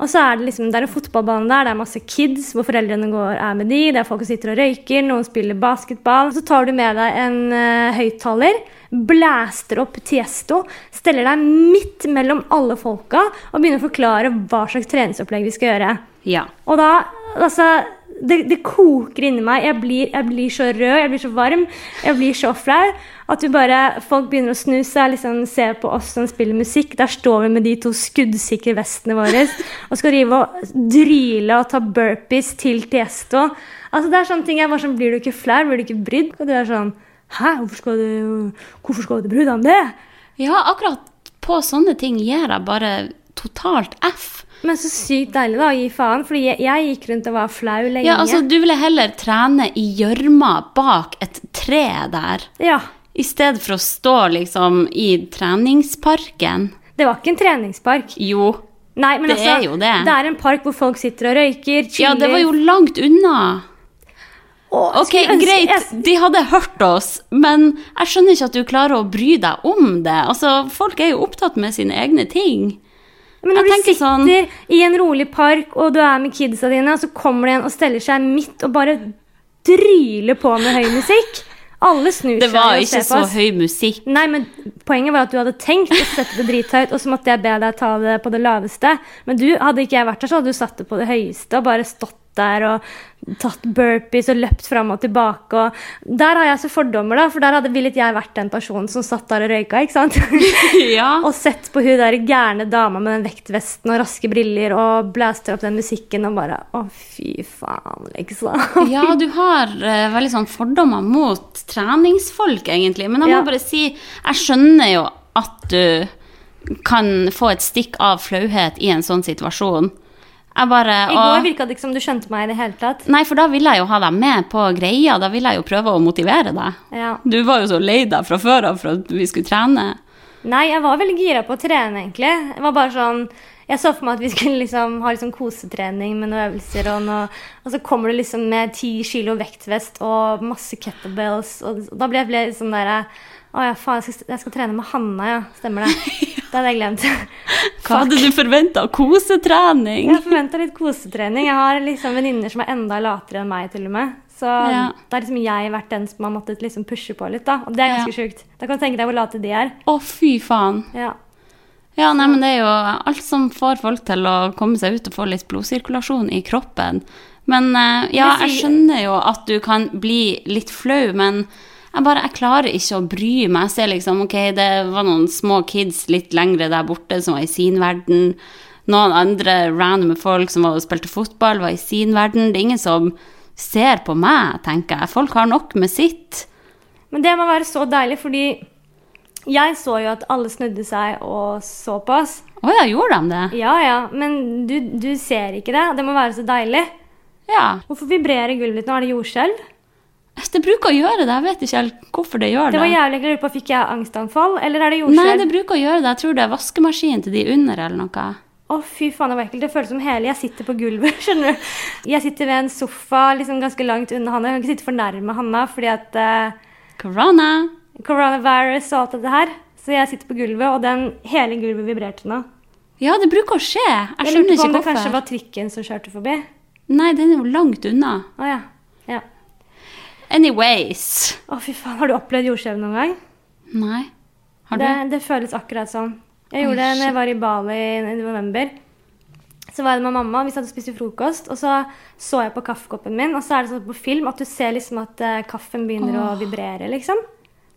Speaker 1: Og så er det liksom, det er en fotballbane der, det er masse kids hvor foreldrene går, er med de, det er folk som sitter og røyker, noen spiller basketball. Så tar du med deg en eh, høyttaler, blæster opp Tiesto, steller deg midt mellom alle folka og begynner å forklare hva slags treningsopplegg vi skal gjøre.
Speaker 2: Ja.
Speaker 1: Og da, altså det, det koker inni meg. Jeg blir, jeg blir så rød, jeg blir så varm, jeg blir så flau. At du bare, folk begynner å snu seg, liksom se på oss som spiller musikk. Der står vi med de to skuddsikre vestene våre og skal drive og dryle og ta burpees til Tiesto. Altså det er sånne ting jeg bare sånn, Blir du ikke flau? Blir du ikke brydd? Og du er sånn Hæ, hvorfor skal du, hvorfor skal du bry deg om det?
Speaker 2: ja, akkurat på sånne ting gir jeg bare totalt F.
Speaker 1: Men så sykt deilig da, å gi faen. Fordi jeg, jeg gikk rundt og var flau lenge.
Speaker 2: Ja, altså, du ville heller trene i gjørma bak et tre der,
Speaker 1: ja.
Speaker 2: i stedet for å stå liksom i treningsparken.
Speaker 1: Det var ikke en treningspark.
Speaker 2: Jo.
Speaker 1: Nei, men
Speaker 2: Det
Speaker 1: altså,
Speaker 2: er jo det.
Speaker 1: det er en park hvor folk sitter og røyker, chiller
Speaker 2: Ja, det var jo langt unna.
Speaker 1: Å,
Speaker 2: Ok,
Speaker 1: skulle ønske-
Speaker 2: greit,
Speaker 1: jeg-
Speaker 2: de hadde hørt oss, men jeg skjønner ikke at du klarer å bry deg om det. Altså, folk er jo opptatt med sine egne ting.
Speaker 1: Men når
Speaker 2: jeg
Speaker 1: du
Speaker 2: tenker
Speaker 1: sitter
Speaker 2: sånn-
Speaker 1: i en rolig park, og du er med kidsa dine, og så kommer det en og steller seg midt og bare dryler på med høy musikk Alle snur
Speaker 2: Det
Speaker 1: seg
Speaker 2: var
Speaker 1: og ser
Speaker 2: ikke
Speaker 1: på
Speaker 2: så
Speaker 1: oss.
Speaker 2: høy musikk.
Speaker 1: Nei, men Poenget var at du hadde tenkt å sette det drithøyt, og så måtte jeg be deg ta det på det laveste. Men du, hadde ikke jeg vært der, så hadde du satt det på det høyeste og bare stått der og tatt burpees og løpt fram og tilbake. Og der har jeg så fordommer, da, for der hadde villet jeg vært den personen som satt der og røyka. ikke sant?
Speaker 2: Ja.
Speaker 1: og sett på hun der gærne dama med den vektvesten og raske briller og blæster opp den musikken og bare Å, fy faen, liksom.
Speaker 2: ja, du har eh, veldig sånn fordommer mot treningsfolk, egentlig. Men jeg må
Speaker 1: Ja.
Speaker 2: bare si, jeg skjønner jo at du kan få et stikk av flauhet i en sånn situasjon. Jeg bare
Speaker 1: I
Speaker 2: og-
Speaker 1: går virka det ikke som du skjønte meg i det hele tatt.
Speaker 2: Nei, for da vil jeg jo ha deg med på greia. Da vil jeg jo prøve å motivere deg.
Speaker 1: Ja.
Speaker 2: Du var jo så lei deg fra før av for at vi skulle trene.
Speaker 1: Nei, jeg var veldig gira på å trene, egentlig. Jeg var bare sånn Jeg så for meg at vi skulle liksom ha liksom kosetrening med noen øvelser, og, noe, og så kommer du liksom med ti kilo vektvest og masse kettlebells, og og da ble jeg ble sånn derre Å ja, faen, jeg skal, jeg skal trene med Hanna, ja. Stemmer det. Det hadde jeg glemt.
Speaker 2: Hva hadde du forventa? Kosetrening?
Speaker 1: Jeg forventa litt kosetrening. Jeg har liksom venninner som er enda latere enn meg, til og med. Så
Speaker 2: Ja.
Speaker 1: da har liksom jeg vært den som har måttet liksom pushe på litt, da. Og det er ganske sjukt. Da kan du tenke deg hvor late de er.
Speaker 2: Å, fy faen.
Speaker 1: Ja.
Speaker 2: Ja, nei, men det er jo alt som får folk til å komme seg ut og få litt blodsirkulasjon i kroppen. Men eh, ja,
Speaker 1: Det
Speaker 2: jeg
Speaker 1: sier-
Speaker 2: skjønner jo at du kan bli litt flau, men jeg bare, jeg klarer ikke å bry meg. Jeg ser liksom, ok, det var noen små kids litt lengre der borte som var i sin verden. Noen andre randome folk som var og spilte fotball var i sin verden. Det er ingen som ser på meg, tenker jeg. Folk har nok med sitt.
Speaker 1: Men det må være så deilig, fordi jeg så jo at alle snudde seg og så på oss.
Speaker 2: Å ja, gjorde de det?
Speaker 1: Ja ja, men du, du ser ikke det. Det må være så deilig.
Speaker 2: Ja.
Speaker 1: Hvorfor vibrerer gulvet ditt nå? Er det jordskjelv?
Speaker 2: Det bruker å gjøre det. Jeg vet ikke helt hvorfor det gjør det.
Speaker 1: Det var jævlig ekkelt. Jeg lurer på, Fikk jeg angstanfall, eller er det
Speaker 2: Nei, det
Speaker 1: jordskjelv? Å,
Speaker 2: bruker å gjøre det. Jeg tror det er vaskemaskinen til de under eller noe.
Speaker 1: fy faen, det var ekkelt. Det føles som hele Jeg sitter på gulvet, skjønner du. Jeg sitter ved en sofa liksom ganske langt unna Hanna. Jeg kan ikke sitte for nærme Hanna fordi at eh,
Speaker 2: Corona.
Speaker 1: coronavirus og alt dette her. Så jeg sitter på gulvet, og den, hele gulvet vibrerte nå.
Speaker 2: Ja, det bruker å skje. Jeg
Speaker 1: Jeg
Speaker 2: skjønner
Speaker 1: lurte på om
Speaker 2: ikke
Speaker 1: det kanskje
Speaker 2: hvorfor.
Speaker 1: var trikken som kjørte forbi.
Speaker 2: Nei, den er jo langt unna.
Speaker 1: Å ja. ja.
Speaker 2: Anyways.
Speaker 1: Å, fy faen. Har du opplevd jordskjelv noen gang?
Speaker 2: Nei. Har du?
Speaker 1: Det, det føles akkurat sånn. Jeg
Speaker 2: Oi,
Speaker 1: gjorde det når
Speaker 2: shit.
Speaker 1: jeg var i Bali i november. Så var jeg med mamma, og vi satt og spiste frokost, og så så jeg på kaffekoppen min, og så er det sånn på film at du ser liksom at eh, kaffen begynner å vibrere, liksom.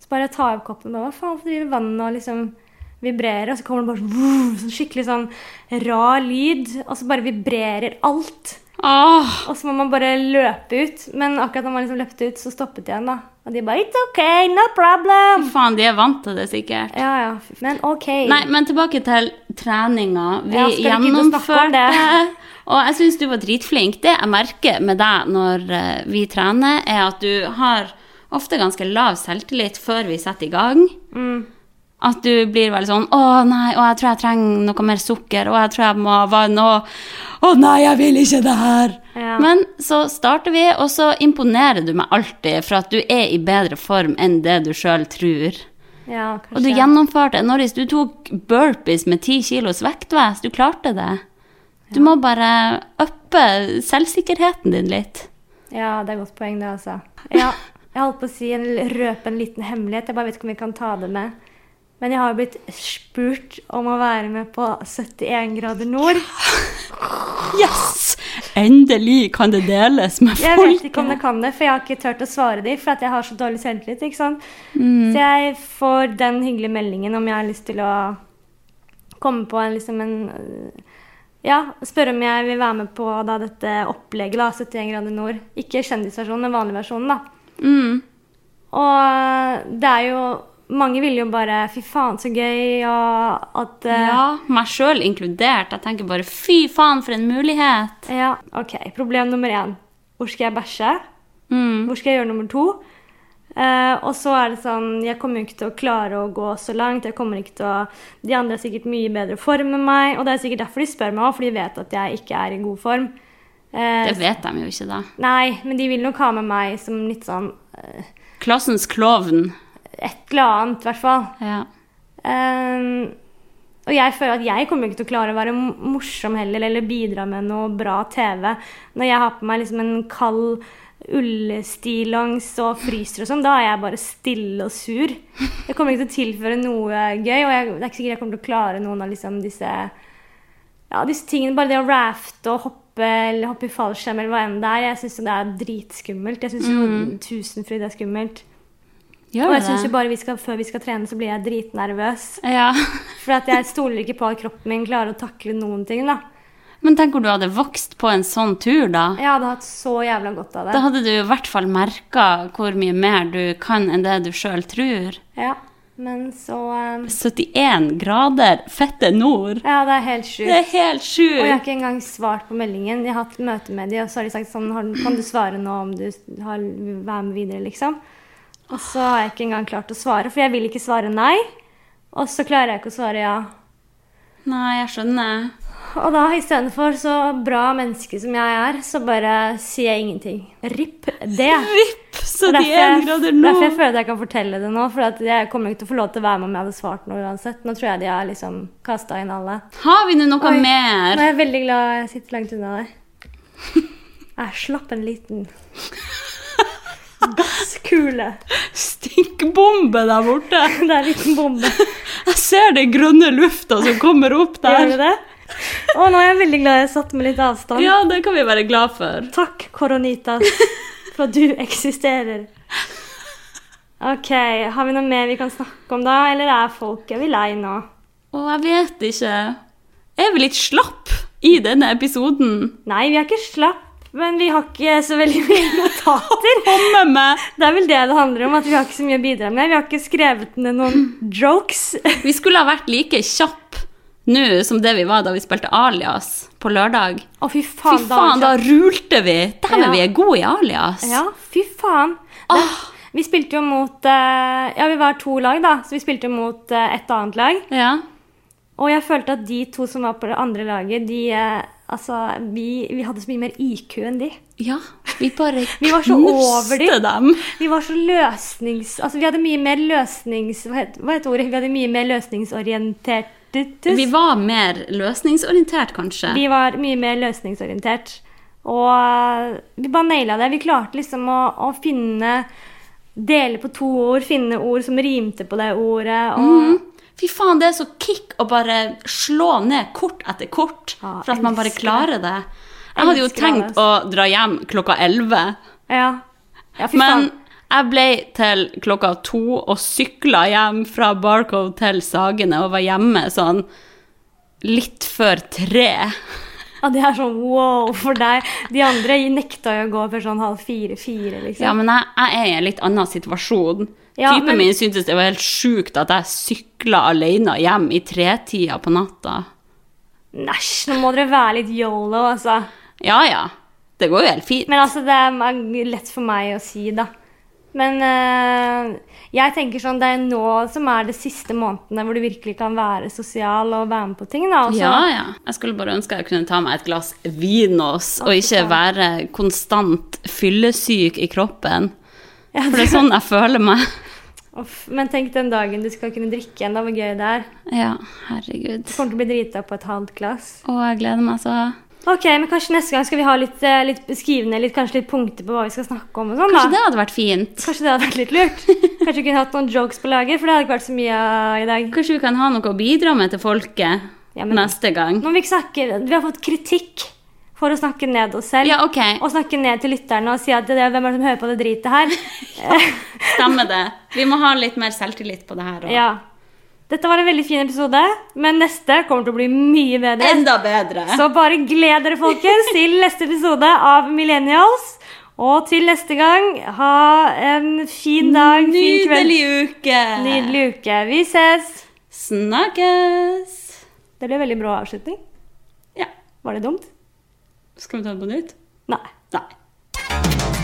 Speaker 1: Så bare tar jeg opp koppen og bare, hva faen, hvorfor driver vannet og liksom vibrerer, og så kommer det bare vroom, sånn skikkelig sånn rar lyd, og så bare vibrerer alt.
Speaker 2: Åh,
Speaker 1: Og så må man bare løpe ut. Men akkurat når man liksom løpte ut, så stoppet de igjen. da. Og de bare 'It's ok, no problem'.
Speaker 2: faen, de er vant til det sikkert.
Speaker 1: Ja, ja. fy- Men ok.
Speaker 2: Nei, men tilbake til treninga. Vi
Speaker 1: Ja, skal vi ikke gidde å snakke om
Speaker 2: gjennomførte
Speaker 1: det?
Speaker 2: Og jeg syns du var dritflink. Det jeg merker med deg når eh, vi trener, er at du har ofte ganske lav selvtillit før vi setter i gang.
Speaker 1: Mm.
Speaker 2: At du blir veldig sånn 'Å nei, å, jeg tror jeg trenger noe mer sukker.' 'Å, jeg tror jeg må ha vann.' Og 'Å nei, jeg vil ikke det her.'
Speaker 1: Ja.
Speaker 2: Men så starter vi, og så imponerer du meg alltid for at du er i bedre form enn det du sjøl tror.
Speaker 1: Ja, kanskje.
Speaker 2: Og du gjennomførte Norris, du tok burpees med ti kilos vektvest. Du klarte det. Du må bare uppe selvsikkerheten din litt.
Speaker 1: Ja, det er et godt poeng, det, altså. Ja, jeg holdt på å si en l- røpe en liten hemmelighet. Jeg bare vet ikke om vi kan ta det med. Men jeg har jo blitt spurt om å være med på 71 grader nord.
Speaker 2: Yes! Endelig kan det deles med
Speaker 1: Jeg vet ikke om
Speaker 2: folket.
Speaker 1: det kan det, for jeg har ikke turt å svare dem. For at jeg har så dårlig selvtillit. ikke sant? Så jeg får den hyggelige meldingen om jeg har lyst til å komme på en, liksom en øh, Ja, spørre om jeg vil være med på da, dette opplegget, da, 71 grader nord. Ikke kjendisversjonen, men vanlig versjon, da.
Speaker 2: Mm.
Speaker 1: Og det er jo Mange vil jo bare Fy faen, så gøy, og at eh,
Speaker 2: Ja, meg sjøl inkludert. Jeg tenker bare fy faen, for en mulighet.
Speaker 1: ja. OK. Problem nummer én. Hvor skal jeg bæsje?
Speaker 2: Mm.
Speaker 1: Hvor skal jeg gjøre nummer to? Eh, og så er det sånn Jeg kommer jo ikke til å klare å gå så langt. Jeg kommer ikke til å De andre er sikkert mye i bedre form enn meg, og det er sikkert derfor de spør meg òg, for de vet at jeg ikke er i god form. Eh,
Speaker 2: Det vet de jo ikke, da.
Speaker 1: nei, men de vil nok ha med meg som litt sånn eh,
Speaker 2: Klassens klovn.
Speaker 1: Et eller annet, i hvert fall.
Speaker 2: Ja.
Speaker 1: Ehm, og jeg føler at jeg kommer ikke til å klare å være m- morsom heller, eller bidra med noe bra TV. Når jeg har på meg liksom en kald ullstillongs og fryser og sånn, da er jeg bare stille og sur. Jeg kommer ikke til å tilføre noe gøy, og jeg, det er ikke sikkert jeg kommer til å klare noen av liksom disse ja, disse tingene, bare det å rafte og hoppe eller hoppe i fallskjerm eller hva enn det er, jeg syns det er dritskummelt. Jeg syns mm. Tusenfryd er skummelt. Og
Speaker 2: Gjør
Speaker 1: jeg synes jo
Speaker 2: det?
Speaker 1: bare vi skal, før vi skal trene, så blir jeg dritnervøs.
Speaker 2: Ja.
Speaker 1: For at jeg stoler ikke på at kroppen min klarer å takle noen ting. da.
Speaker 2: Men tenk hvor du hadde vokst på en sånn tur, da.
Speaker 1: Jeg hadde hatt så jævla godt av
Speaker 2: Da
Speaker 1: det.
Speaker 2: hadde du i hvert fall merka hvor mye mer du kan enn det du sjøl tror.
Speaker 1: Ja, Men så eh,
Speaker 2: 71 grader fette nord!
Speaker 1: Ja, det er helt
Speaker 2: Det er
Speaker 1: sjukt. Og
Speaker 2: helt
Speaker 1: jeg har
Speaker 2: sjukt!
Speaker 1: ikke engang svart på meldingen. Jeg har hatt møte med de, og så har de sagt sånn har, du- Kan du svare nå om du har, vil være med videre, liksom? Og så har jeg ikke engang klart å svare, for jeg vil ikke svare nei. Og så klarer jeg ikke å svare ja.
Speaker 2: Nei, jeg skjønner.
Speaker 1: Og da istedenfor, så bra menneske som jeg er, så bare sier jeg ingenting. Ripp det.
Speaker 2: Vipp!
Speaker 1: Det er derfor
Speaker 2: 71 grader
Speaker 1: jeg- derfor
Speaker 2: nord!
Speaker 1: jeg føler at jeg kan fortelle det nå. For at jeg kommer ikke til å få lov til å være med om jeg hadde svart noe uansett. Nå tror jeg de har liksom kasta inn alle.
Speaker 2: Har vi nå noe
Speaker 1: Oi. Nå
Speaker 2: mer?
Speaker 1: er jeg veldig glad jeg sitter langt unna der. Jeg slapp en liten gasskule.
Speaker 2: Stikkbombe der borte!
Speaker 1: Det er en liten bombe.
Speaker 2: Jeg ser den grønne lufta som kommer opp
Speaker 1: Gjør du
Speaker 2: der.
Speaker 1: det? Å, nå er jeg veldig glad jeg satt med litt avstand.
Speaker 2: Ja, det kan vi være glad for.
Speaker 1: Takk, Koronitas, for at du eksisterer. OK, har vi noe mer vi kan snakke om da, eller er folk er vi lei nå?
Speaker 2: Å, jeg vet ikke. Er vi litt slapp i denne episoden?
Speaker 1: Nei, vi er ikke slapp, men vi har ikke så veldig mye notater.
Speaker 2: Komme med
Speaker 1: Det er vel det det handler om, at vi har ikke så mye å bidra med. Vi har ikke skrevet ned noen jokes.
Speaker 2: Vi skulle ha vært like kjapp nå som det vi var da vi spilte Alias på lørdag.
Speaker 1: Å, fy
Speaker 2: Fy
Speaker 1: faen,
Speaker 2: faen, da
Speaker 1: da.
Speaker 2: rulte vi! Dæven,
Speaker 1: Ja.
Speaker 2: vi er gode i Alias.
Speaker 1: Ja, fy faen. Det,
Speaker 2: Ah.
Speaker 1: vi spilte jo mot eh, Ja, vi var to lag, da, så vi spilte jo mot eh, et annet lag.
Speaker 2: Ja.
Speaker 1: Og jeg følte at de to som var på det andre laget, de eh, Altså, vi, vi hadde så mye mer IQ enn de.
Speaker 2: Ja, Vi bare
Speaker 1: Vi var så over
Speaker 2: knuste dem.
Speaker 1: Vi var så løsnings... Altså, vi hadde mye mer løsnings... Hva het- hva heter ordet? Vi hadde mye mer løsningsorientert
Speaker 2: Vi var mer løsningsorientert, kanskje.
Speaker 1: Vi var mye mer løsningsorientert. Og eh, vi bare naila det. Vi klarte liksom å, å finne Dele på to ord, finne ord som rimte på det ordet. Og
Speaker 2: Mm. Fy faen, det er så kick å bare slå ned kort etter kort.
Speaker 1: Ja,
Speaker 2: for at man bare
Speaker 1: elsker det.
Speaker 2: klarer det. Jeg hadde jo
Speaker 1: Elsker
Speaker 2: tenkt
Speaker 1: det,
Speaker 2: å dra hjem klokka elleve.
Speaker 1: ja. ja, fy
Speaker 2: Men
Speaker 1: faen.
Speaker 2: jeg ble til klokka to og sykla hjem fra Barcove til Sagene og var hjemme sånn litt før tre.
Speaker 1: Ja, det er sånn wow for deg. De andre nekta jo å gå før sånn halv fire-fire,
Speaker 2: Ja,
Speaker 1: liksom.
Speaker 2: men jeg, jeg er i en litt annen situasjon.
Speaker 1: Ja,
Speaker 2: Typen
Speaker 1: men-
Speaker 2: min syntes det var helt sjukt at jeg sykla alene hjem i tretida på natta.
Speaker 1: Næsj, nå må dere være litt yolo, altså.
Speaker 2: Ja ja, det går jo helt fint.
Speaker 1: Men altså, det er lett for meg å si, da. Men eh, jeg tenker sånn, det er nå som er de siste månedene hvor du virkelig kan være sosial og være med på ting. da. altså. Og så,
Speaker 2: Ja, ja. Jeg skulle bare ønske jeg kunne ta meg et glass Vinos og
Speaker 1: fy
Speaker 2: ikke
Speaker 1: faen.
Speaker 2: være konstant fyllesyk i kroppen.
Speaker 1: Ja,
Speaker 2: sånn- For det er sånn jeg føler meg.
Speaker 1: Uff, men tenk den dagen du skal kunne drikke igjen, da, hvor gøy det er.
Speaker 2: Ja, herregud.
Speaker 1: Du kommer til å bli drita på et halvt glass.
Speaker 2: Å, jeg gleder meg så.
Speaker 1: Ok, men kanskje neste gang skal vi ha litt, eh, litt beskrivende, litt, kanskje litt punkter på hva vi skal snakke om og sånn, da.
Speaker 2: Kanskje det hadde vært fint?
Speaker 1: Kanskje det hadde vært litt lurt. Kanskje vi kunne hatt noen jokes på lager, for det hadde ikke vært så mye av i dag.
Speaker 2: Kanskje vi kan ha noe å bidra med til folket
Speaker 1: Ja, men-
Speaker 2: neste gang?
Speaker 1: Når vi ikke snakker, vi har fått kritikk for å snakke ned oss selv.
Speaker 2: Ja, ok.
Speaker 1: Og snakke ned til lytterne og si at det er hvem er det som hører på det dritet her.
Speaker 2: Stemmer det. Vi må ha litt mer selvtillit på det her. også.
Speaker 1: ja. Dette var en veldig fin episode, men neste kommer til å bli mye bedre.
Speaker 2: Enda bedre.
Speaker 1: Så bare gled dere, folkens, til neste episode av Millennials. Og til neste gang, ha en fin Sånn dag, fin kveld.
Speaker 2: Nydelig uke!
Speaker 1: Nydelig uke. Vi ses.
Speaker 2: Snakkes!
Speaker 1: Det ble veldig brå avslutning.
Speaker 2: Ja.
Speaker 1: Var det dumt?
Speaker 2: Skal vi ta det på nytt?
Speaker 1: Nei.
Speaker 2: Nei.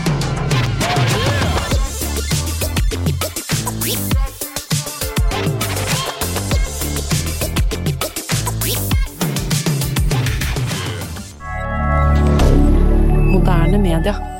Speaker 3: Moderne media.